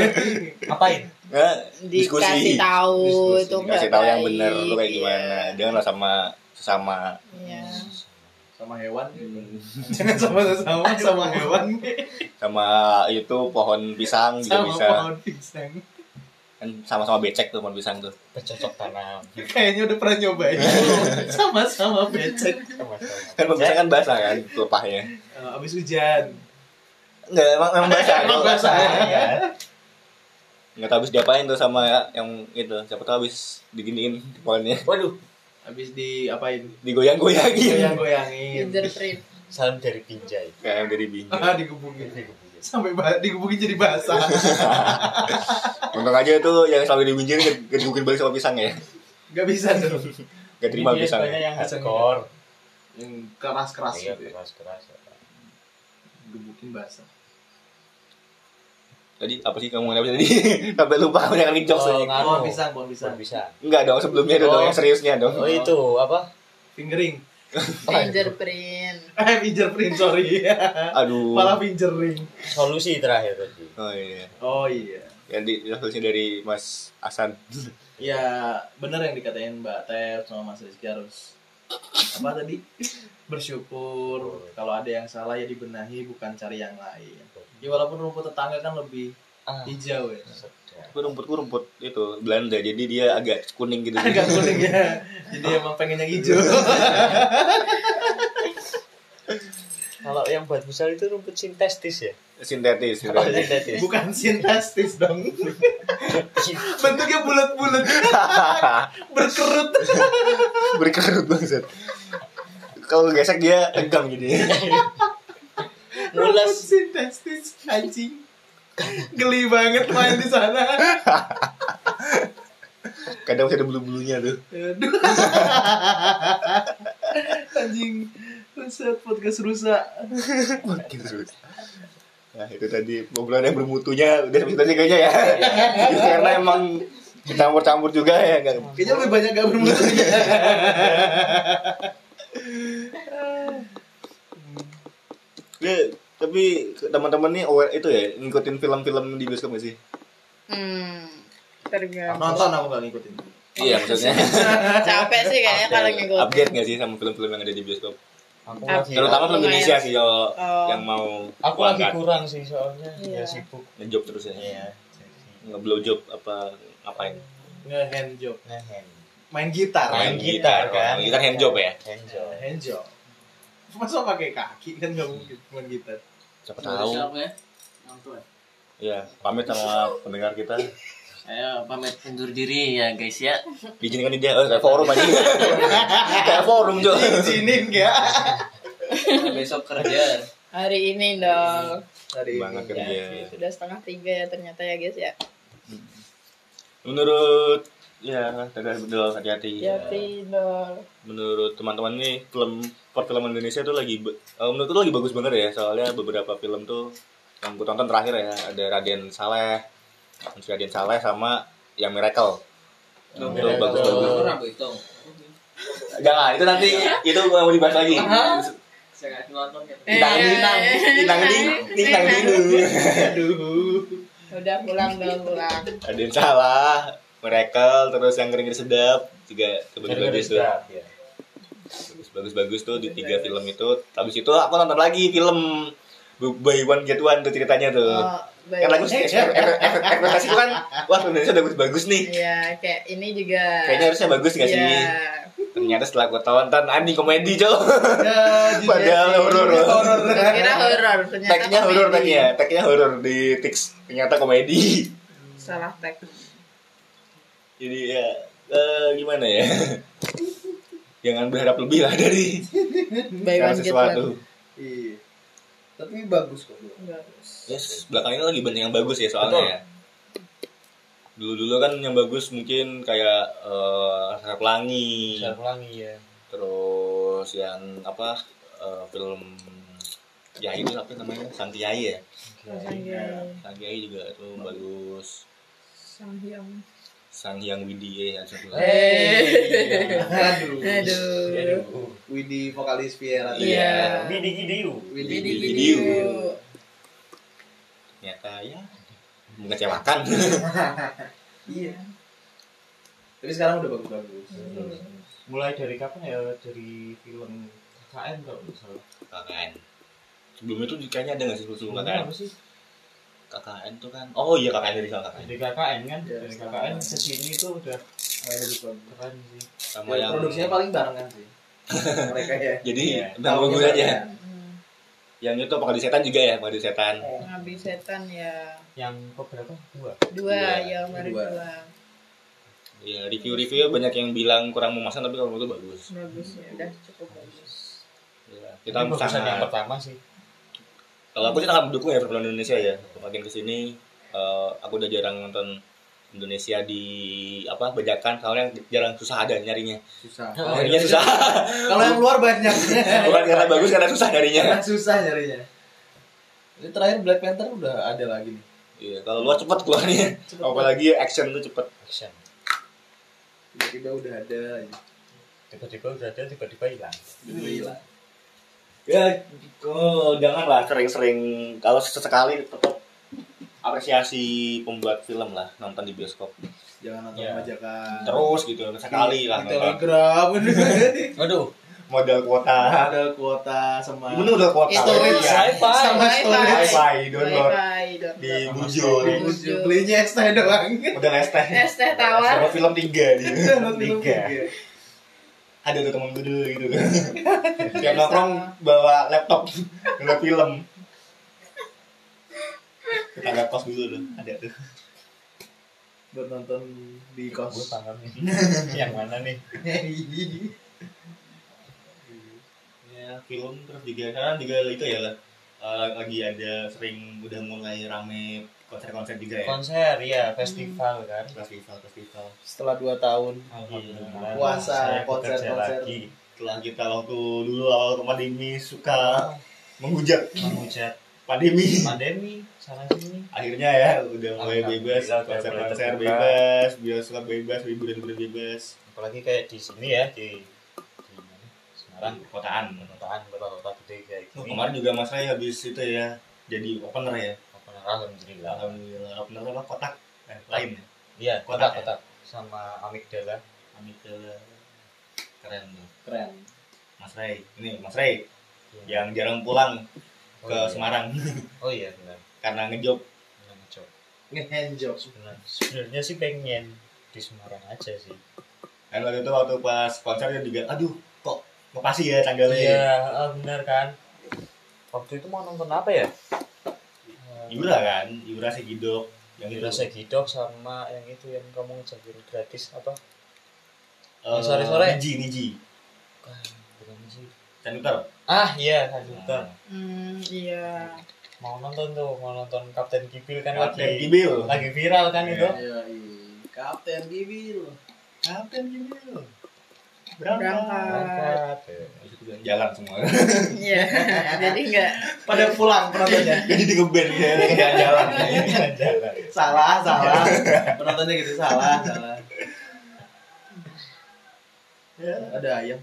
[SPEAKER 1] *laughs*
[SPEAKER 2] Ngapain?
[SPEAKER 1] Nah,
[SPEAKER 3] dikasih tahu
[SPEAKER 4] Diskusi,
[SPEAKER 3] itu nggak
[SPEAKER 1] Dikasih tahu yang
[SPEAKER 3] baik.
[SPEAKER 1] bener lu kayak
[SPEAKER 3] Iya.
[SPEAKER 1] gimana. Janganlah sama sesama.
[SPEAKER 3] Iya.
[SPEAKER 4] sama hewan *laughs* jangan sama sama Hmm. sama hewan
[SPEAKER 1] Sama itu pohon pisang juga
[SPEAKER 4] sama
[SPEAKER 1] bisa.
[SPEAKER 4] pohon pisang
[SPEAKER 1] Kan sama-sama becek tuh pohon pisang tuh. *laughs*
[SPEAKER 2] Bercocok tanam.
[SPEAKER 4] kayaknya udah pernah *laughs* nyobain sama sama becek
[SPEAKER 1] Kan pohon pisang kan basah kan tumpahnya.
[SPEAKER 4] Eh, abis hujan Iya.
[SPEAKER 1] Enggak, emang, emang basah.
[SPEAKER 4] Emang basah,
[SPEAKER 1] ya. Enggak tahu habis diapain tuh sama yang itu. Siapa tahu habis diginiin pohonnya.
[SPEAKER 2] Waduh,
[SPEAKER 4] abis diapain
[SPEAKER 1] Digoyang-goyangin.
[SPEAKER 4] goyang goyangin
[SPEAKER 3] Fingerprint.
[SPEAKER 2] salam dari Pinjai.
[SPEAKER 1] Kayak yang dari bingung.
[SPEAKER 4] ah digebukin sampai ba- digebukin jadi basah
[SPEAKER 1] Untung aja itu yang selalu dibinjir gedukin balik sama pisang ya.
[SPEAKER 4] nggak bisa tuh
[SPEAKER 1] Gak terima
[SPEAKER 2] Ini dia
[SPEAKER 1] pisang.
[SPEAKER 2] banyak yang hardcore.
[SPEAKER 4] yang keras keras
[SPEAKER 2] Iya,
[SPEAKER 4] gitu ya.
[SPEAKER 2] keras-keras.
[SPEAKER 4] gebukin basah
[SPEAKER 1] Tadi apa sih kamu apa tadi? *laughs* Sampai lupa banyak yang jokes.
[SPEAKER 2] Oh,
[SPEAKER 1] aja.
[SPEAKER 2] nganu.
[SPEAKER 4] pohon pisang pohon pisang
[SPEAKER 2] Bisa.
[SPEAKER 1] Enggak dong, sebelumnya dong
[SPEAKER 2] Oh.
[SPEAKER 1] yang seriusnya dong.
[SPEAKER 2] Oh, itu apa?
[SPEAKER 4] fingering
[SPEAKER 3] Fingerprint.
[SPEAKER 4] eh fingerprint sorry
[SPEAKER 1] Aduh.
[SPEAKER 4] iya. malah fingering
[SPEAKER 2] Solusi terakhir tadi.
[SPEAKER 1] Oh iya.
[SPEAKER 4] oh iya
[SPEAKER 1] Yang di referensi dari Mas Hasan.
[SPEAKER 4] ya bener yang dikatain Mbak Tep sama Mas Rizky harus apa tadi bersyukur kalau ada yang salah ya dibenahi bukan cari yang lain ya walaupun rumput tetangga kan lebih
[SPEAKER 2] Ah,
[SPEAKER 4] hijau ya
[SPEAKER 2] sedap.
[SPEAKER 1] Tapi rumputku rumput itu Belanda, jadi dia agak kuning gitu.
[SPEAKER 4] agak kuning ya jadi emang pengen *laughs* yang hijau
[SPEAKER 2] Kalau yang buat misal itu rumput sintetis ya.
[SPEAKER 1] *laughs* Sintetis. gitu.
[SPEAKER 2] Apa sintetis?
[SPEAKER 4] bukan sintetis dong *laughs*
[SPEAKER 2] *laughs*
[SPEAKER 4] bentuknya bulat-bulat *laughs* berkerut
[SPEAKER 1] Berkerut banget. Kalau gesek dia tegang jadi.
[SPEAKER 4] Rumput *laughs*
[SPEAKER 2] Mulas.
[SPEAKER 4] sintetis anjing geli banget main di sana
[SPEAKER 1] Kadang masih ada bulu-bulunya tuh.
[SPEAKER 4] Aduh. *laughs* anjing rusak podcast rusak
[SPEAKER 1] Gitu. Nah itu tadi obrolan yang bermutunya udah sampai situ aja kayaknya ya. Karena emang campur-campur juga ya nggak-
[SPEAKER 4] kayaknya lebih banyak gak bermutunya
[SPEAKER 1] Ya, tapi teman-teman nih aware itu ya ngikutin film-film di bioskop gak sih?
[SPEAKER 3] Hmm. Tergantung.
[SPEAKER 4] *laughs* nonton aku gak ngikutin
[SPEAKER 1] Iya maksudnya
[SPEAKER 3] Capek sih kayaknya kalau ngikut.
[SPEAKER 1] update gak sih sama film-film yang ada di bioskop?
[SPEAKER 2] Aku
[SPEAKER 3] Ah,
[SPEAKER 2] lagi
[SPEAKER 1] Terutama film
[SPEAKER 3] lumayan.
[SPEAKER 1] Indonesia sih kalau
[SPEAKER 3] Oh.
[SPEAKER 1] yang mau
[SPEAKER 2] aku lagi
[SPEAKER 1] berangkat.
[SPEAKER 2] kurang sih soalnya
[SPEAKER 3] Iya.
[SPEAKER 2] ya sibuk.
[SPEAKER 1] ngejob terus ya.
[SPEAKER 2] Iya.
[SPEAKER 1] Ngeblow job apa ngapain?
[SPEAKER 4] nge-hand job
[SPEAKER 2] Nah, Hand.
[SPEAKER 4] main gitar
[SPEAKER 1] Main
[SPEAKER 2] Main
[SPEAKER 1] gitar,
[SPEAKER 2] gitar kan.
[SPEAKER 1] main gitar hand job ya?
[SPEAKER 2] Hand job.
[SPEAKER 4] hand job masa pakai kaki kan gak mungkin main gitar
[SPEAKER 1] Siapa tahu?
[SPEAKER 6] Siap ya. Nonton.
[SPEAKER 1] Iya, pamit sama pendengar kita.
[SPEAKER 6] Ayo pamit undur diri ya guys *laughs* ya.
[SPEAKER 1] Izinkan dia eh, kayak forum aja. kayak forum Jo.
[SPEAKER 4] izinin gak
[SPEAKER 6] Besok kerja.
[SPEAKER 3] Hari ini dong.
[SPEAKER 4] hari
[SPEAKER 1] Banget
[SPEAKER 4] ini
[SPEAKER 1] kerja.
[SPEAKER 3] Sudah setengah tiga ya ternyata ya guys ya.
[SPEAKER 1] Menurut ya, tadi betul hati-hati.
[SPEAKER 3] Ya tidur.
[SPEAKER 1] menurut teman-teman nih film perfilman Indonesia tuh lagi ba- eh, menurut tuh lagi bagus bener ya soalnya beberapa film tuh yang gue tonton terakhir ya ada Raden Saleh Hans Raden Saleh sama yang Miracle
[SPEAKER 6] Belum
[SPEAKER 1] Itu bagus-bagus.
[SPEAKER 6] Belum pernah hitung.
[SPEAKER 1] jangan itu nanti itu gua mau dibahas lagi
[SPEAKER 6] Saya nggak nonton ya.
[SPEAKER 1] Tintang tintang tintang ding tintang dulu
[SPEAKER 2] Iya.
[SPEAKER 4] aduh
[SPEAKER 3] Udah pulang dong pulang.
[SPEAKER 1] Raden Saleh Miracle terus yang kering sedap juga
[SPEAKER 2] Gara-gara
[SPEAKER 1] bagus-bagus tuh
[SPEAKER 2] sedap, ya.
[SPEAKER 1] bagus-bagus tuh di tiga film itu habis itu aku nonton lagi film buy one get one tuh ceritanya tuh.
[SPEAKER 3] Oh, baik.
[SPEAKER 1] kan lagu sih efek- efek- efek- ekspektasi itu kan wah Indonesia bagus-bagus nih.
[SPEAKER 3] Iya, kayak ini juga.
[SPEAKER 1] Kayaknya harusnya bagus gak sih?
[SPEAKER 3] Iya.
[SPEAKER 1] Ternyata setelah gue tonton anjing komedi cow.
[SPEAKER 4] Ya, jujur.
[SPEAKER 1] Padahal horor.
[SPEAKER 4] Horor.
[SPEAKER 3] Kira horor, ternyata
[SPEAKER 1] Tagnya horor
[SPEAKER 3] komedi.
[SPEAKER 1] tagnya, tagnya horor di Tix ternyata komedi.
[SPEAKER 3] Salah tag.
[SPEAKER 1] Jadi ya eh, gimana ya? Jangan berharap lebih lah dari segala
[SPEAKER 3] Buy one get one.
[SPEAKER 1] sesuatu.
[SPEAKER 4] Iya. Tapi bagus kok. Bu.
[SPEAKER 3] Bagus.
[SPEAKER 1] Yes, belakang ini lagi banyak yang bagus ya soalnya. ya. Dulu-dulu kan yang bagus mungkin kayak eh Sarah Pelangi,
[SPEAKER 2] Saya ulangi ya.
[SPEAKER 1] terus yang apa eh, film ya itu apa namanya Santiai ya,
[SPEAKER 3] Sangyang.
[SPEAKER 1] Santiai juga tuh bagus.
[SPEAKER 3] Sangyang.
[SPEAKER 1] Sang Hyang Widi ya, satu lagi.
[SPEAKER 3] Hey.
[SPEAKER 4] Aduh.
[SPEAKER 2] Iya,
[SPEAKER 3] Aduh.
[SPEAKER 4] Widi vokalis Viera. ya.
[SPEAKER 1] Iya.
[SPEAKER 5] Gidi gidi
[SPEAKER 1] Widi
[SPEAKER 4] Widi.
[SPEAKER 1] Gidiu. Ternyata ya mengecewakan. *laughs*
[SPEAKER 4] Iya. Tapi sekarang udah bagus-bagus.
[SPEAKER 5] Mulai dari kapan ya? Dari film KKN kalau nggak salah.
[SPEAKER 1] KKN. Sebelum itu kayaknya ada nggak sih sebelum KKN?
[SPEAKER 5] Apa sih?
[SPEAKER 1] KKN tuh kan. Oh iya KKN dari sama KKN.
[SPEAKER 5] Dari KKN kan?
[SPEAKER 4] Iya,
[SPEAKER 5] Dari
[SPEAKER 4] sekarang.
[SPEAKER 5] KKN ke sini tuh udah
[SPEAKER 4] Bagus-bagus.
[SPEAKER 5] keren sih.
[SPEAKER 1] Sama
[SPEAKER 4] Ya,
[SPEAKER 1] yang
[SPEAKER 4] Produksinya paling barengan *laughs* sih. Mereka ya.
[SPEAKER 1] Jadi
[SPEAKER 5] Iya.
[SPEAKER 1] udah nunggu
[SPEAKER 4] Tahunnya
[SPEAKER 1] aja.
[SPEAKER 4] barengan.
[SPEAKER 1] Yang itu pengadu setan juga ya, pengadu setan.
[SPEAKER 3] Nabi setan ya.
[SPEAKER 5] Yang keberapa? Dua.
[SPEAKER 3] Dua,
[SPEAKER 1] Dua.
[SPEAKER 3] yang baru
[SPEAKER 4] Dua.
[SPEAKER 3] dua.
[SPEAKER 1] Ya review-review banyak yang bilang kurang memasang tapi kalau menurut gue bagus.
[SPEAKER 3] Bagus ya, udah cukup bagus.
[SPEAKER 1] Ya, kita
[SPEAKER 2] Kita bagusan yang
[SPEAKER 1] sangat.
[SPEAKER 2] pertama sih.
[SPEAKER 1] Kalau aku sih sangat mendukung ya film Indonesia ya. Makin kesini eh, aku udah jarang nonton Indonesia di apa bajakan soalnya jarang susah ada nyarinya.
[SPEAKER 4] Susah.
[SPEAKER 3] Oh, iya.
[SPEAKER 1] Nyarinya susah. *laughs*
[SPEAKER 4] Kalau yang luar banyak. *laughs*
[SPEAKER 1] Bukan karena bagus karena susah nyarinya.
[SPEAKER 4] Karena susah nyarinya. Ini terakhir Black Panther udah ada lagi nih.
[SPEAKER 1] Iya, kalau luar cepet keluarnya. Apalagi action tuh cepet.
[SPEAKER 2] Action.
[SPEAKER 4] Tiba-tiba udah ada aja.
[SPEAKER 2] Tiba-tiba udah ada, tiba-tiba hilang.
[SPEAKER 4] Tiba-tiba hilang.
[SPEAKER 1] Ya, oh, jangan lah sering-sering kalau sesekali tetap apresiasi pembuat film lah nonton di bioskop.
[SPEAKER 4] Jangan nonton
[SPEAKER 2] Iya.
[SPEAKER 4] bajakan.
[SPEAKER 1] Terus gitu, sekali lah
[SPEAKER 3] Iya.
[SPEAKER 4] Di
[SPEAKER 1] nonton.
[SPEAKER 4] *laughs* Telegram.
[SPEAKER 2] Aduh.
[SPEAKER 1] Modal kuota.
[SPEAKER 4] ada kuota sama
[SPEAKER 1] Ini modal kuota.
[SPEAKER 3] Itu
[SPEAKER 1] ya.
[SPEAKER 4] sama
[SPEAKER 3] Bye-bye.
[SPEAKER 4] storage.
[SPEAKER 1] Bye-bye, download
[SPEAKER 3] Bye bye.
[SPEAKER 1] di Bujo.
[SPEAKER 4] Bujuk. Belinya extra doang.
[SPEAKER 1] Modal es teh.
[SPEAKER 3] Es teh tawar.
[SPEAKER 1] Sama film tiga
[SPEAKER 2] *laughs*
[SPEAKER 1] dia.
[SPEAKER 4] Iya,
[SPEAKER 2] Iya.
[SPEAKER 4] Tiga.
[SPEAKER 1] Tiga. Ada tuh temen gue dulu
[SPEAKER 2] *laughs*
[SPEAKER 1] gitu. Dia nongkrong bawa laptop, bawa film. Tetangga kos dulu loh, ada tuh.
[SPEAKER 4] Buat nonton
[SPEAKER 2] Gue
[SPEAKER 4] di *laughs* kos. Iya.
[SPEAKER 2] paham
[SPEAKER 1] *laughs*
[SPEAKER 2] nih. yang mana nih?
[SPEAKER 1] ya film terus juga sekarang juga itu ya eh, lagi ada sering udah mulai rame konser-konser juga ya
[SPEAKER 2] Konser ya, festival kan.
[SPEAKER 1] festival festival
[SPEAKER 4] Setelah 2 tahun
[SPEAKER 2] Alhamdulillah.
[SPEAKER 4] puasa
[SPEAKER 2] Saya
[SPEAKER 4] konser
[SPEAKER 2] bekerja
[SPEAKER 4] konser.
[SPEAKER 2] lagi.
[SPEAKER 1] setelah kita waktu dulu awal pandemi suka menghujat
[SPEAKER 2] Menghujat
[SPEAKER 1] pandemi
[SPEAKER 2] pandemi sana sini.
[SPEAKER 1] akhirnya ya udah mulai bebas
[SPEAKER 2] Alhamdulillah, udah
[SPEAKER 1] konser-konser
[SPEAKER 2] mulai terbuka.
[SPEAKER 1] bebas bioskop bebas hiburan-hiburan bebas
[SPEAKER 2] Apalagi kayak di sini ya di, di mana? Semarang,
[SPEAKER 1] Orang kotaan
[SPEAKER 2] perkotaan kota-kota gede kayak
[SPEAKER 1] Oh,
[SPEAKER 2] gini.
[SPEAKER 1] kemarin juga mas Ray habis itu ya jadi opener ya
[SPEAKER 2] Alhamdulillah.
[SPEAKER 1] alhamdulillah opener apa kotak Eh, lain ya
[SPEAKER 2] Iya,
[SPEAKER 1] Kotak ya?
[SPEAKER 2] kotak-kotak sama amigdala.
[SPEAKER 1] Amigdala. keren tuh
[SPEAKER 4] Keren.
[SPEAKER 1] Mas Ray, ini Mas Ray
[SPEAKER 2] Iya.
[SPEAKER 1] yang jarang pulang
[SPEAKER 2] Oh,
[SPEAKER 1] ke
[SPEAKER 2] iya.
[SPEAKER 1] Semarang *laughs*
[SPEAKER 2] Oh iya benar.
[SPEAKER 1] karena ngejob.
[SPEAKER 2] Benar, Cok.
[SPEAKER 4] Ngehand job.
[SPEAKER 2] Benar. Sebenarnya sih pengen di Semarang aja sih.
[SPEAKER 1] Dan waktu itu waktu pas konser dia juga, aduh kok makasih ya tanggalnya.
[SPEAKER 2] Iya, ah, benar kan. Waktu itu mau nonton apa ya? Iya.
[SPEAKER 1] Yura kan, Yura si Gidok yang itu.
[SPEAKER 2] Kira Segidok sama yang itu yang kamu ngejakin gratis apa?
[SPEAKER 1] Eh,
[SPEAKER 2] yang sore-sore.
[SPEAKER 1] Niji, Niji.
[SPEAKER 2] Bukan, bukan sih.
[SPEAKER 1] Canuter.
[SPEAKER 2] Ah iya, Kajuta.
[SPEAKER 3] Hmm, iya.
[SPEAKER 2] Mau nonton tuh, mau nonton Kapten Kibil kan
[SPEAKER 1] Kapten
[SPEAKER 2] lagi
[SPEAKER 1] Gibil.
[SPEAKER 2] lagi viral kan
[SPEAKER 1] Iya.
[SPEAKER 2] itu.
[SPEAKER 4] Iya, Kapten Gibil.
[SPEAKER 1] Kapten Gibil.
[SPEAKER 3] Berangkat.
[SPEAKER 1] Berangkat.
[SPEAKER 2] Berangkat. ya.
[SPEAKER 1] Habis itu Jalan semua. *laughs*
[SPEAKER 3] Iya. *laughs* Jadi enggak
[SPEAKER 4] Pada pulang *laughs* penontonnya.
[SPEAKER 1] Jadi di ngeband
[SPEAKER 2] *laughs*
[SPEAKER 1] ya, jalan-jalan.
[SPEAKER 2] Iya, Jalan-jalan.
[SPEAKER 4] salah, *laughs* salah. Penontonnya gitu salah, salah. Iya.
[SPEAKER 1] Ya,
[SPEAKER 4] Ada ayam.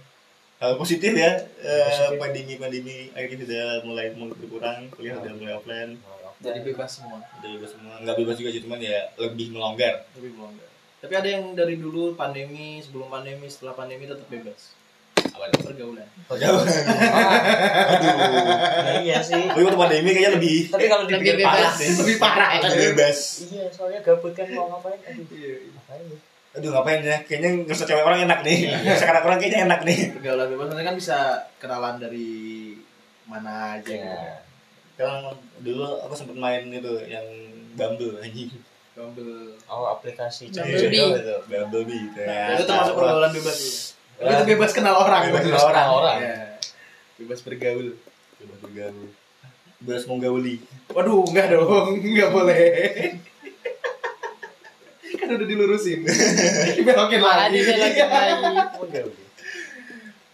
[SPEAKER 1] Hal positif ya, eh,
[SPEAKER 2] Positif.
[SPEAKER 1] pandemi-pandemi akhirnya sudah mulai mulai berkurang, kuliah sudah mulai offline.
[SPEAKER 4] Jadi bebas semua.
[SPEAKER 1] Udah bebas semua. Nggak bebas juga sih, cuman ya lebih melonggar.
[SPEAKER 4] Tapi belum enggak. Tapi ada yang dari dulu pandemi, sebelum pandemi, setelah pandemi tetap bebas.
[SPEAKER 6] Apa itu?
[SPEAKER 4] pergaulan
[SPEAKER 2] Oh, iya.
[SPEAKER 1] *laughs*
[SPEAKER 5] Nah, iya sih.
[SPEAKER 1] Tapi waktu Oh, pandemi kayaknya lebih
[SPEAKER 6] Tapi kalau
[SPEAKER 3] Lebih
[SPEAKER 6] dipikir parah
[SPEAKER 3] bebas.
[SPEAKER 6] sih, lebih parah ya.
[SPEAKER 1] lebih bebas.
[SPEAKER 2] Iya, soalnya gabut kan mau ngapain? Aduh,
[SPEAKER 4] Iya,
[SPEAKER 2] ngapain ya?
[SPEAKER 1] Aduh ngapain ya? Kayaknya ngerasa cewek orang enak nih. Sekarang orang kayaknya enak nih.
[SPEAKER 4] pergaulan bebas nanti kan bisa kenalan dari mana aja gitu.
[SPEAKER 1] Iya. Kan dulu aku sempet main itu yang Bumble anjing.
[SPEAKER 4] Bumble.
[SPEAKER 2] Oh, aplikasi
[SPEAKER 1] Bumble. ya.
[SPEAKER 2] jodoh
[SPEAKER 3] Bumblebee.
[SPEAKER 2] itu.
[SPEAKER 1] Bumblebee
[SPEAKER 4] itu termasuk pergaulan bebas ya. Kita bebas kenal orang.
[SPEAKER 1] Iya. Bebas kenal
[SPEAKER 2] orang.
[SPEAKER 4] Iya. Bebas bergaul.
[SPEAKER 1] Bebas bergaul. Bebas menggauli.
[SPEAKER 4] Waduh, enggak dong, *laughs* enggak boleh. kan udah
[SPEAKER 1] *laughs*
[SPEAKER 4] dilurusin. Dibelokin
[SPEAKER 3] Malah
[SPEAKER 4] lagi.
[SPEAKER 3] dibelokin lagi.
[SPEAKER 2] Oh,
[SPEAKER 1] Menggauli.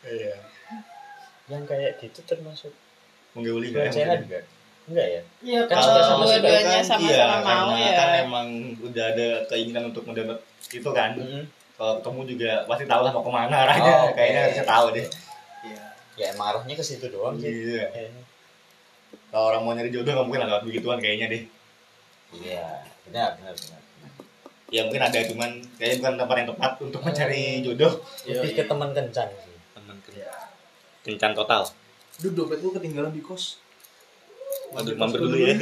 [SPEAKER 1] Iya.
[SPEAKER 2] Yang kayak gitu termasuk
[SPEAKER 1] Menggauli
[SPEAKER 2] Bukan
[SPEAKER 1] kan?
[SPEAKER 2] sehat.
[SPEAKER 1] Menggauli.
[SPEAKER 2] Iya, enggak ya?
[SPEAKER 5] Iya,
[SPEAKER 2] Kan sudah sama-sama
[SPEAKER 3] dua-duanya
[SPEAKER 1] kan,
[SPEAKER 3] sama-sama
[SPEAKER 1] iya,
[SPEAKER 3] mau
[SPEAKER 1] karena
[SPEAKER 3] ya.
[SPEAKER 1] kan emang udah ada keinginan untuk mendapat itu kan. Kalau ketemu juga pasti tahu lah mau kemana arahnya.
[SPEAKER 2] Oh, oke.
[SPEAKER 1] Kayaknya bisa tahu deh.
[SPEAKER 4] Iya.
[SPEAKER 2] Ya emang arahnya ke situ doang sih.
[SPEAKER 1] Iya.
[SPEAKER 2] Kayaknya.
[SPEAKER 1] Kalau orang mau nyari jodoh nggak mungkin lah lewat begituan kayaknya deh.
[SPEAKER 2] Iya, benar benar benar.
[SPEAKER 1] Ya mungkin ada cuman kayaknya bukan tempat yang tepat untuk mencari jodoh.
[SPEAKER 2] Lebih ke teman kencan sih.
[SPEAKER 1] Teman kencan total.
[SPEAKER 4] Duh, dompet gua ketinggalan di kos.
[SPEAKER 1] Untuk mampir dulu ya.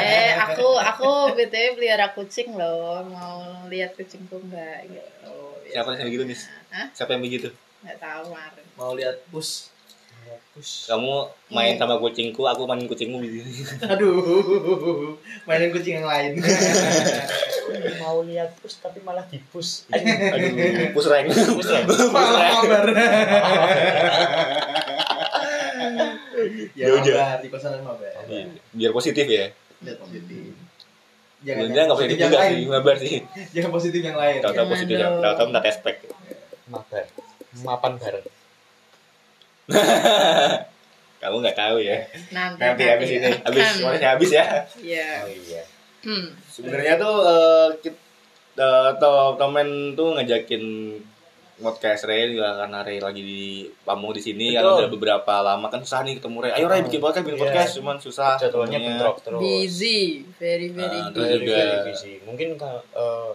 [SPEAKER 3] eh aku aku btw pelihara kucing loh mau lihat kucingku nggak gitu
[SPEAKER 1] *laughs* Siapa yang begitu, Miss?
[SPEAKER 3] Hah?
[SPEAKER 1] Siapa yang begitu?
[SPEAKER 3] nggak tahu kemarin
[SPEAKER 4] Mau lihat pus.
[SPEAKER 2] Iya,
[SPEAKER 1] Kamu main sama kucingku, aku main kucingmu gitu. *laughs*
[SPEAKER 4] Aduh. Mainin kucing yang lain.
[SPEAKER 2] Mau lihat bus tapi malah di bus.
[SPEAKER 1] Aduh, pusreng. Pusreng.
[SPEAKER 4] Malah kabar. ya,
[SPEAKER 1] Ya udah.
[SPEAKER 4] mabar. Di kosan mabar.
[SPEAKER 1] Biar positif ya.
[SPEAKER 4] Lihat positif.
[SPEAKER 1] Enggak enggak positif juga
[SPEAKER 4] yang
[SPEAKER 1] sih,
[SPEAKER 4] lain.
[SPEAKER 1] ngabar sih.
[SPEAKER 4] Jangan positif yang lain.
[SPEAKER 1] Tahu-tahu
[SPEAKER 3] Jangan
[SPEAKER 1] positif, ya.
[SPEAKER 3] dong.
[SPEAKER 1] tahu-tahu minta respect.
[SPEAKER 2] Mabar. Mapan bareng.
[SPEAKER 1] Kamu nggak tahu ya.
[SPEAKER 3] nanti
[SPEAKER 1] Nanti habis ini, habis
[SPEAKER 3] Hmm.
[SPEAKER 1] semuanya habis ya.
[SPEAKER 3] Iya.
[SPEAKER 2] Oh iya.
[SPEAKER 3] Hmm.
[SPEAKER 1] Sebenarnya tuh eh, kit- eh, to- Tomen tuh ngajakin podcast Ray juga karena Ray lagi di Pamung di sini kan
[SPEAKER 2] Betul.
[SPEAKER 1] udah beberapa lama kan susah nih ketemu Ray. Ayo Ray bikin podcast, bikin
[SPEAKER 2] Iya.
[SPEAKER 1] podcast cuman susah.
[SPEAKER 2] Jadwalnya
[SPEAKER 1] ketemunya.
[SPEAKER 2] bentrok terus.
[SPEAKER 3] busy very very
[SPEAKER 1] Ah,
[SPEAKER 3] busy
[SPEAKER 1] terus-
[SPEAKER 2] Very,
[SPEAKER 1] juga.
[SPEAKER 2] very busy. gitu Mungkin ka- eh,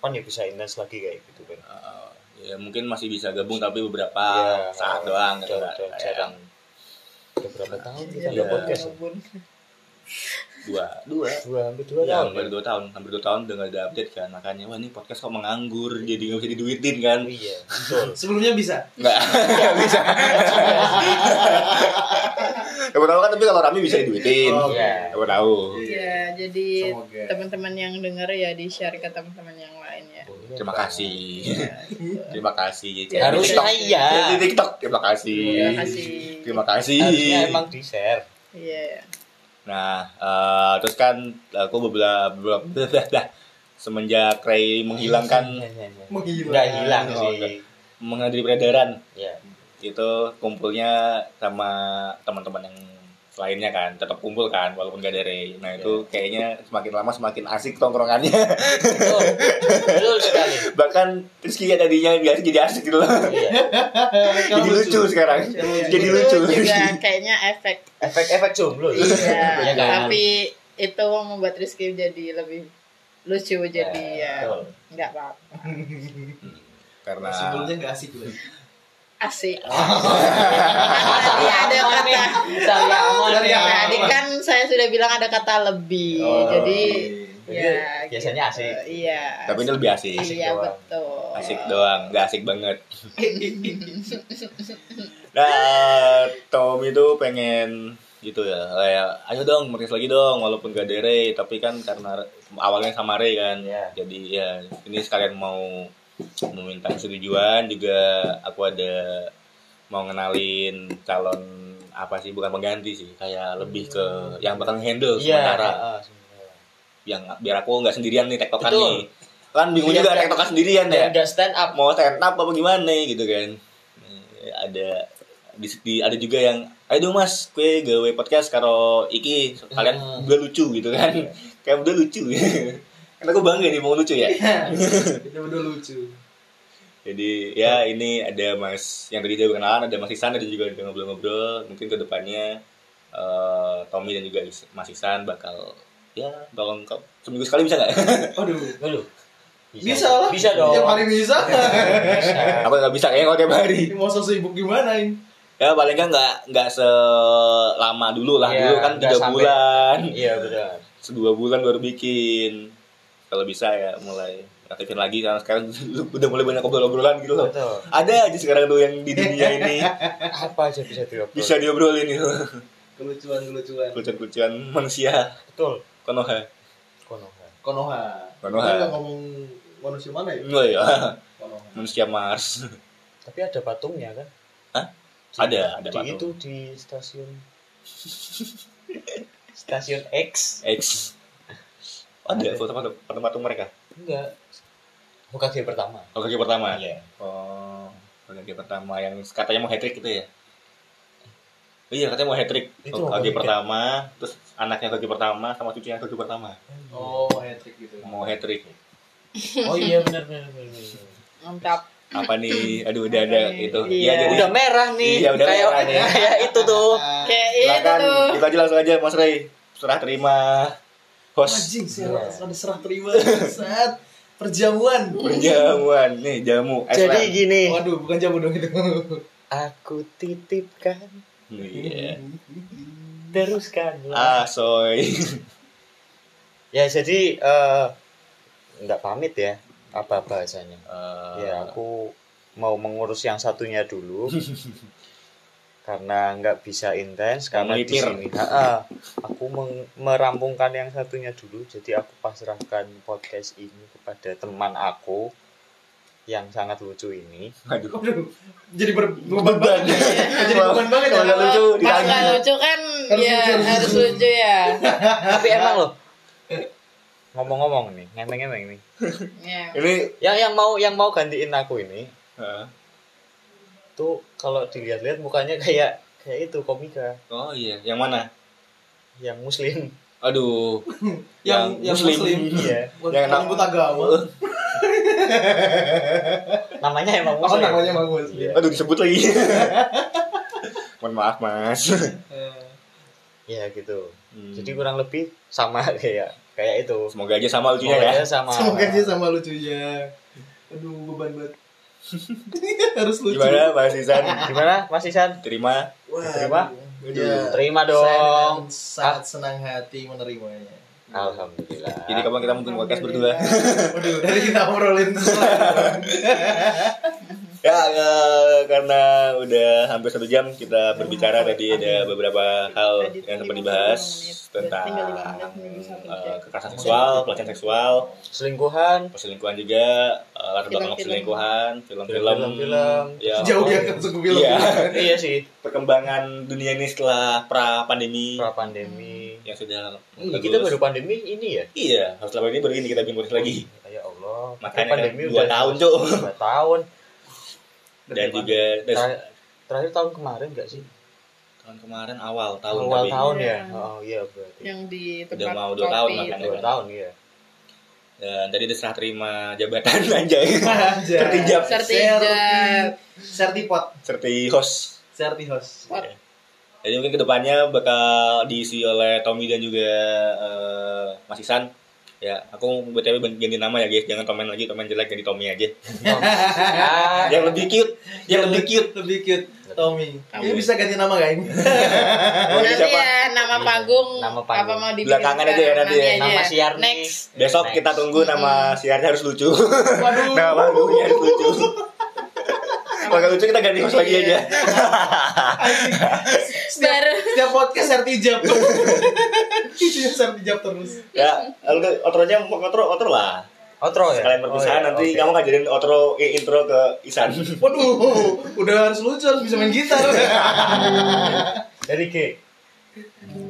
[SPEAKER 2] kapan ya bisa intens lagi kayak gitu kan?
[SPEAKER 1] Eh, ya mungkin masih bisa gabung tapi beberapa Ah,
[SPEAKER 2] Iya.
[SPEAKER 1] saat doang gitu nggak
[SPEAKER 2] Udah- udah
[SPEAKER 1] kayak
[SPEAKER 2] jarang. Udah berapa tahun
[SPEAKER 1] Iya.
[SPEAKER 2] kita nggak podcast? ya?
[SPEAKER 3] Walaupun-
[SPEAKER 1] dua dua
[SPEAKER 2] Dua hampir dua
[SPEAKER 1] Ya,
[SPEAKER 2] tahun.
[SPEAKER 1] hampir
[SPEAKER 2] ya?
[SPEAKER 1] dua tahun, hampir dua tahun udah nggak ada update kan, makanya wah ini podcast kok menganggur, jadi nggak bisa diduitin kan?
[SPEAKER 2] Oh, Iya, betul.
[SPEAKER 4] Sebelumnya bisa.
[SPEAKER 1] Nggak, nggak bisa. Siapa tahu kan tapi kalau rame bisa diduitin.
[SPEAKER 4] Oh,
[SPEAKER 2] Iya.
[SPEAKER 1] Siapa tahu.
[SPEAKER 3] Iya, jadi
[SPEAKER 4] Semoga.
[SPEAKER 3] teman-teman yang denger ya di share ke teman-teman yang lain ya.
[SPEAKER 2] Iya.
[SPEAKER 1] Terima kasih. Iya, Terima kasih.
[SPEAKER 3] Ya,
[SPEAKER 2] Harus
[SPEAKER 1] TikTok.
[SPEAKER 2] saya.
[SPEAKER 1] Di TikTok. Terima kasih.
[SPEAKER 3] Terima kasih.
[SPEAKER 1] Terima kasih.
[SPEAKER 2] Harusnya emang di share.
[SPEAKER 3] Iya.
[SPEAKER 1] Nah, eh, terus kan aku beberapa beberapa- *laughs* semenjak Ray menghilangkan
[SPEAKER 4] Menghilang.
[SPEAKER 2] Iya, Nggak hilang
[SPEAKER 4] *laughs*
[SPEAKER 1] Oh, nggak.
[SPEAKER 2] sih.
[SPEAKER 1] menghadiri peredaran
[SPEAKER 2] Ya.
[SPEAKER 1] itu kumpulnya sama teman-teman yang lainnya kan tetap kumpul kan walaupun gak ada Ray. Nah
[SPEAKER 4] Iya.
[SPEAKER 1] itu kayaknya semakin lama semakin asik tongkrongannya. *laughs*
[SPEAKER 2] Betul. Betul sekali.
[SPEAKER 6] *laughs*
[SPEAKER 1] Bahkan Rizky ya tadinya biasa jadi asik gitu loh.
[SPEAKER 2] Iya.
[SPEAKER 1] jadi lucu, sekarang.
[SPEAKER 4] Iya.
[SPEAKER 1] Jadi
[SPEAKER 3] Itu
[SPEAKER 1] lucu.
[SPEAKER 3] juga kayaknya efek
[SPEAKER 2] Efek-efek jomblo ya.
[SPEAKER 3] iya.
[SPEAKER 2] Iya kan?
[SPEAKER 3] Tapi itu membuat Rizky jadi lebih lucu jadi ya
[SPEAKER 2] Betul.
[SPEAKER 3] nggak apa-apa.
[SPEAKER 1] *laughs* Karena
[SPEAKER 4] Sebelumnya nggak asik loh.
[SPEAKER 3] Asik. Tadi ada kata
[SPEAKER 2] Saya
[SPEAKER 6] Ah,
[SPEAKER 4] Dari awal.
[SPEAKER 3] Tadi *laughs* kan saya sudah bilang ada kata lebih.
[SPEAKER 2] Oh,
[SPEAKER 3] jadi
[SPEAKER 2] Jadi
[SPEAKER 3] ya
[SPEAKER 2] biasanya
[SPEAKER 3] gitu.
[SPEAKER 2] asik.
[SPEAKER 3] Iya.
[SPEAKER 1] tapi ini lebih asik.
[SPEAKER 3] iya
[SPEAKER 2] doang.
[SPEAKER 3] betul.
[SPEAKER 1] Asik doang, gak asik banget. Nah, Tom itu pengen gitu ya, kayak ayo dong merilis lagi dong walaupun gak ada Ray, tapi kan karena awalnya sama Ray kan.
[SPEAKER 2] Iya.
[SPEAKER 1] Jadi ya ini sekalian mau meminta persetujuan juga aku ada mau ngenalin calon apa sih bukan pengganti sih kayak lebih ke yang bakal handle
[SPEAKER 2] Iya.
[SPEAKER 1] sementara
[SPEAKER 2] ah, sementara.
[SPEAKER 1] yang biar aku nggak sendirian nih tektokan
[SPEAKER 2] Betul.
[SPEAKER 1] nih kan bingung
[SPEAKER 2] Biar
[SPEAKER 1] juga
[SPEAKER 2] nggak-
[SPEAKER 1] tektokan sendirian ya
[SPEAKER 2] Dan udah stand up.
[SPEAKER 1] mau stand up apa gimana nih, gitu kan Eh, ada di, di- ada juga yang ayo dong mas kue gawe podcast karo iki kalian
[SPEAKER 2] Hmm. Iya.
[SPEAKER 1] udah lucu gitu kan *laughs* kayak udah lucu karena aku bangga nih mau lucu ya
[SPEAKER 4] Itu udah lucu.
[SPEAKER 1] jadi ya ini ada mas yang tadi udah kenalan ada mas Isan tadi juga udah ngobrol-ngobrol mungkin kedepannya eh Tommy dan juga Is- mas Isan bakal ya tolong seminggu sekali bisa nggak *laughs*
[SPEAKER 4] Waduh.
[SPEAKER 2] Dulu.
[SPEAKER 4] Bisa lah.
[SPEAKER 2] Bisa dong.
[SPEAKER 4] Tiap hari bisa.
[SPEAKER 1] *laughs* Apa nggak bisa kayaknya kalau tiap hari?
[SPEAKER 4] Mau sibuk gimana ini?
[SPEAKER 1] Ya paling kan nggak nggak selama dulu lah.
[SPEAKER 2] Iya,
[SPEAKER 1] dulu kan
[SPEAKER 2] nggak
[SPEAKER 1] tiga
[SPEAKER 2] sampai-
[SPEAKER 1] bulan,
[SPEAKER 2] Iya benar.
[SPEAKER 1] dua bulan baru bikin. Kalau bisa ya mulai aktifin lagi karena sekarang *laughs* udah mulai banyak obrolan-obrolan gitu loh.
[SPEAKER 2] Betul.
[SPEAKER 1] Ada aja sekarang tuh yang di dunia
[SPEAKER 2] *laughs*
[SPEAKER 1] ini
[SPEAKER 2] Apa aja bisa diobrol.
[SPEAKER 1] bisa diobrolin gitu. itu
[SPEAKER 4] Kelucuan-kelucuan.
[SPEAKER 1] lucu-lucuan manusia eh,
[SPEAKER 2] Betul.
[SPEAKER 1] konoha.
[SPEAKER 2] Konoha.
[SPEAKER 4] Konoha.
[SPEAKER 1] Konoha.
[SPEAKER 4] Kita nggak ngomong manusia mana ya?
[SPEAKER 1] Oh iya,
[SPEAKER 4] Konoha.
[SPEAKER 1] *laughs* manusia Mars.
[SPEAKER 2] Tapi ada patungnya kan?
[SPEAKER 1] Hah?
[SPEAKER 2] Di-
[SPEAKER 1] Ada, ada
[SPEAKER 2] di
[SPEAKER 1] patung.
[SPEAKER 2] itu di stasiun stasiun X
[SPEAKER 1] X. Ada foto foto foto patung mereka.
[SPEAKER 2] enggak buka game pertama
[SPEAKER 1] Oh kaki pertama.
[SPEAKER 2] iya
[SPEAKER 1] Oh kaki pertama yang katanya mau hat trick gitu ya. Iya katanya mau hat trick.
[SPEAKER 2] Itu
[SPEAKER 1] kaki
[SPEAKER 2] Hoki
[SPEAKER 1] pertama, terus anaknya kaki pertama sama cucunya kaki pertama.
[SPEAKER 4] Oh, hat trick gitu.
[SPEAKER 1] Mau hat trick.
[SPEAKER 2] oh iya benar benar benar, benar.
[SPEAKER 3] mantap
[SPEAKER 1] Apa nih? Aduh udah ada itu.
[SPEAKER 3] Iya.
[SPEAKER 2] udah merah nih
[SPEAKER 1] *laughs* Iya, udah
[SPEAKER 2] kayak
[SPEAKER 1] merah nih.
[SPEAKER 2] kayak itu tuh
[SPEAKER 3] kayak itu
[SPEAKER 1] Silakan
[SPEAKER 3] tuh
[SPEAKER 1] kita aja langsung aja Mas Ray. Serah terima host
[SPEAKER 4] Anjing, saya ada serah terima saat perjamuan.
[SPEAKER 1] perjamuan nih jamu
[SPEAKER 2] jadi
[SPEAKER 1] Iceland.
[SPEAKER 2] gini
[SPEAKER 4] Waduh, bukan jamu dong itu.
[SPEAKER 2] aku titipkan
[SPEAKER 1] Iya.
[SPEAKER 2] teruskanlah
[SPEAKER 1] Ah, soy.
[SPEAKER 2] ya jadi eh, nggak pamit ya apa bahasanya Ya,
[SPEAKER 1] Iya. *laughs*
[SPEAKER 2] aku mau mengurus yang satunya *laughs* dulu. karena nggak bisa intens
[SPEAKER 1] Mau
[SPEAKER 2] karena di
[SPEAKER 1] melipir.
[SPEAKER 2] sini. Ha-ha. aku meng- merampungkan yang satunya dulu, jadi aku pasrahkan podcast ini kepada teman aku yang sangat lucu ini.
[SPEAKER 1] Aduh.
[SPEAKER 4] Waduh, jadi ber- beban banget. jadi beban banget ya.
[SPEAKER 1] Kalau nggak lucu,
[SPEAKER 3] pas nggak
[SPEAKER 1] ditagih.
[SPEAKER 3] lucu kan
[SPEAKER 4] Harus
[SPEAKER 3] ya
[SPEAKER 4] lucu, harus
[SPEAKER 3] harus
[SPEAKER 4] lucu.
[SPEAKER 3] lucu ya
[SPEAKER 2] Tapi emang loh. Ngomong-ngomong nih, ngemeng-ngemeng nih.
[SPEAKER 3] ya
[SPEAKER 1] Ini
[SPEAKER 2] Yang yang mau yang mau gantiin aku ini
[SPEAKER 1] Hah?
[SPEAKER 2] tuh kalau dilihat-lihat mukanya kayak kayak itu komika
[SPEAKER 1] Oh iya, yang mana?
[SPEAKER 2] yang muslim. *laughs*
[SPEAKER 1] Aduh, yang,
[SPEAKER 4] Yang- yang
[SPEAKER 1] muslim.
[SPEAKER 4] muslim.
[SPEAKER 2] Iya.
[SPEAKER 1] Yang
[SPEAKER 4] Yang nyebut agama.
[SPEAKER 2] Oh, Namanya emang
[SPEAKER 4] Apa
[SPEAKER 2] muslim.
[SPEAKER 4] namanya bagus?
[SPEAKER 2] Iya.
[SPEAKER 1] *laughs* Aduh, disebut lagi. *laughs* Mohon maaf, Mas. *laughs* Iya.
[SPEAKER 2] Ya gitu.
[SPEAKER 1] Hmm.
[SPEAKER 2] Jadi kurang lebih sama *laughs* kayak kayak itu.
[SPEAKER 1] Semoga aja sama lucunya ya.
[SPEAKER 2] Semuanya sama.
[SPEAKER 4] Semoga aja sama gitu. lucunya. Aduh, beban banget. *laughs* Harus lucu.
[SPEAKER 1] Gimana, Mas Isan?
[SPEAKER 2] Gimana Mas Isan?
[SPEAKER 1] Terima.
[SPEAKER 4] Wah,
[SPEAKER 2] Diterima?
[SPEAKER 4] Iya.
[SPEAKER 2] Terima
[SPEAKER 4] Saya
[SPEAKER 2] dong.
[SPEAKER 4] dengan
[SPEAKER 1] Ah.
[SPEAKER 4] sangat senang hati menerimanya.
[SPEAKER 2] Alhamdulillah.
[SPEAKER 1] Jadi kapan kita mungkin podcast berdua? *laughs*
[SPEAKER 4] Waduh, dari kita obrolin setelah.
[SPEAKER 1] ya, eh, karena udah hampir satu jam kita berbicara tadi ada beberapa hal
[SPEAKER 3] Tadi tuh
[SPEAKER 1] yang sempat
[SPEAKER 3] 55
[SPEAKER 1] dibahas
[SPEAKER 3] menit.
[SPEAKER 1] tentang
[SPEAKER 3] Tinggal 15 menit, satu jam.
[SPEAKER 1] eh, kekerasan seksual, pelecehan seksual, *laughs*
[SPEAKER 2] selingkuhan.
[SPEAKER 1] perselingkuhan juga, eh, latar belakang
[SPEAKER 3] Film-film.
[SPEAKER 1] perselingkuhan, film-film,
[SPEAKER 2] Film-film.
[SPEAKER 1] ya,
[SPEAKER 4] jauh ya
[SPEAKER 1] pokoknya-
[SPEAKER 4] kan suku film.
[SPEAKER 1] Iya.
[SPEAKER 2] iya sih.
[SPEAKER 1] perkembangan dunia ini setelah pra pandemi
[SPEAKER 2] Pra pandemi.
[SPEAKER 1] yang sudah
[SPEAKER 2] Iya,
[SPEAKER 1] bagus.
[SPEAKER 2] kita baru pandemi ini ya.
[SPEAKER 1] iya harus lama ini baru ini kita bikin podcast lagi
[SPEAKER 2] Ya Allah.
[SPEAKER 1] Makanya
[SPEAKER 2] pandemi
[SPEAKER 1] kan dua
[SPEAKER 2] udah
[SPEAKER 1] tahun, Cuk.
[SPEAKER 2] Dua tahun.
[SPEAKER 1] dan juga dan
[SPEAKER 2] Terakhir, terakhir tahun kemarin enggak sih?
[SPEAKER 1] tahun kemarin awal tahun
[SPEAKER 2] Awal
[SPEAKER 1] tapi
[SPEAKER 2] tahun ya.
[SPEAKER 3] Iya.
[SPEAKER 2] Oh iya berarti.
[SPEAKER 3] yang di
[SPEAKER 1] Udah
[SPEAKER 3] tempat
[SPEAKER 1] mau dua tahun
[SPEAKER 3] kopi
[SPEAKER 1] makanya.
[SPEAKER 3] itu.
[SPEAKER 2] Dua tahun iya.
[SPEAKER 1] dan tadi udah serah terima jabatan *laughs* aja
[SPEAKER 2] *laughs*
[SPEAKER 4] Sertijab.
[SPEAKER 3] Sertijab.
[SPEAKER 4] Sertipot.
[SPEAKER 1] seperti host
[SPEAKER 4] Sertihos.
[SPEAKER 3] Pot.
[SPEAKER 1] jadi mungkin kedepannya bakal diisi oleh Tommy dan juga eh, Mas Isan ya aku btw ganti nama ya guys jangan Tomen lagi Tomen jelek jadi Tommy
[SPEAKER 2] *laughs*
[SPEAKER 1] aja
[SPEAKER 2] Ah,
[SPEAKER 1] yang lebih cute yang lebih cute
[SPEAKER 4] Lebih cute. Tommy.
[SPEAKER 3] Tommy.
[SPEAKER 4] Ini bisa ganti nama gak *laughs* ini?
[SPEAKER 1] Mau
[SPEAKER 3] nanti
[SPEAKER 1] Iya, siapa?
[SPEAKER 3] ya nama
[SPEAKER 1] Iya.
[SPEAKER 3] panggung
[SPEAKER 2] Nama panggung.
[SPEAKER 3] apa mau dibikin
[SPEAKER 1] Belakangan aja ya,
[SPEAKER 3] sekarang,
[SPEAKER 1] nanti ya.
[SPEAKER 2] nama siar nih.
[SPEAKER 3] next
[SPEAKER 1] besok kita tunggu nama
[SPEAKER 2] Hmm.
[SPEAKER 1] siarnya harus lucu *laughs*
[SPEAKER 4] Waduh.
[SPEAKER 1] Nah, lagunya harus
[SPEAKER 2] *laughs*
[SPEAKER 1] lucu. Kalau nggak lucu kita ganti host lagi aja.
[SPEAKER 2] Iya.
[SPEAKER 4] Setiap,
[SPEAKER 3] baru
[SPEAKER 4] setiap podcast *laughs* sertijab. Isinya sertijab terus.
[SPEAKER 1] ya, lalu ke outronya mau outro outro lah.
[SPEAKER 2] Outro ya.
[SPEAKER 1] Kalian berpisah
[SPEAKER 2] Oh, iya,
[SPEAKER 1] nanti
[SPEAKER 2] oke.
[SPEAKER 1] kamu kan ngajarin outro eh, intro ke Isan. *laughs*
[SPEAKER 4] *laughs* Waduh, udah harus lucu, harus bisa main gitar.
[SPEAKER 2] Jadi Ki,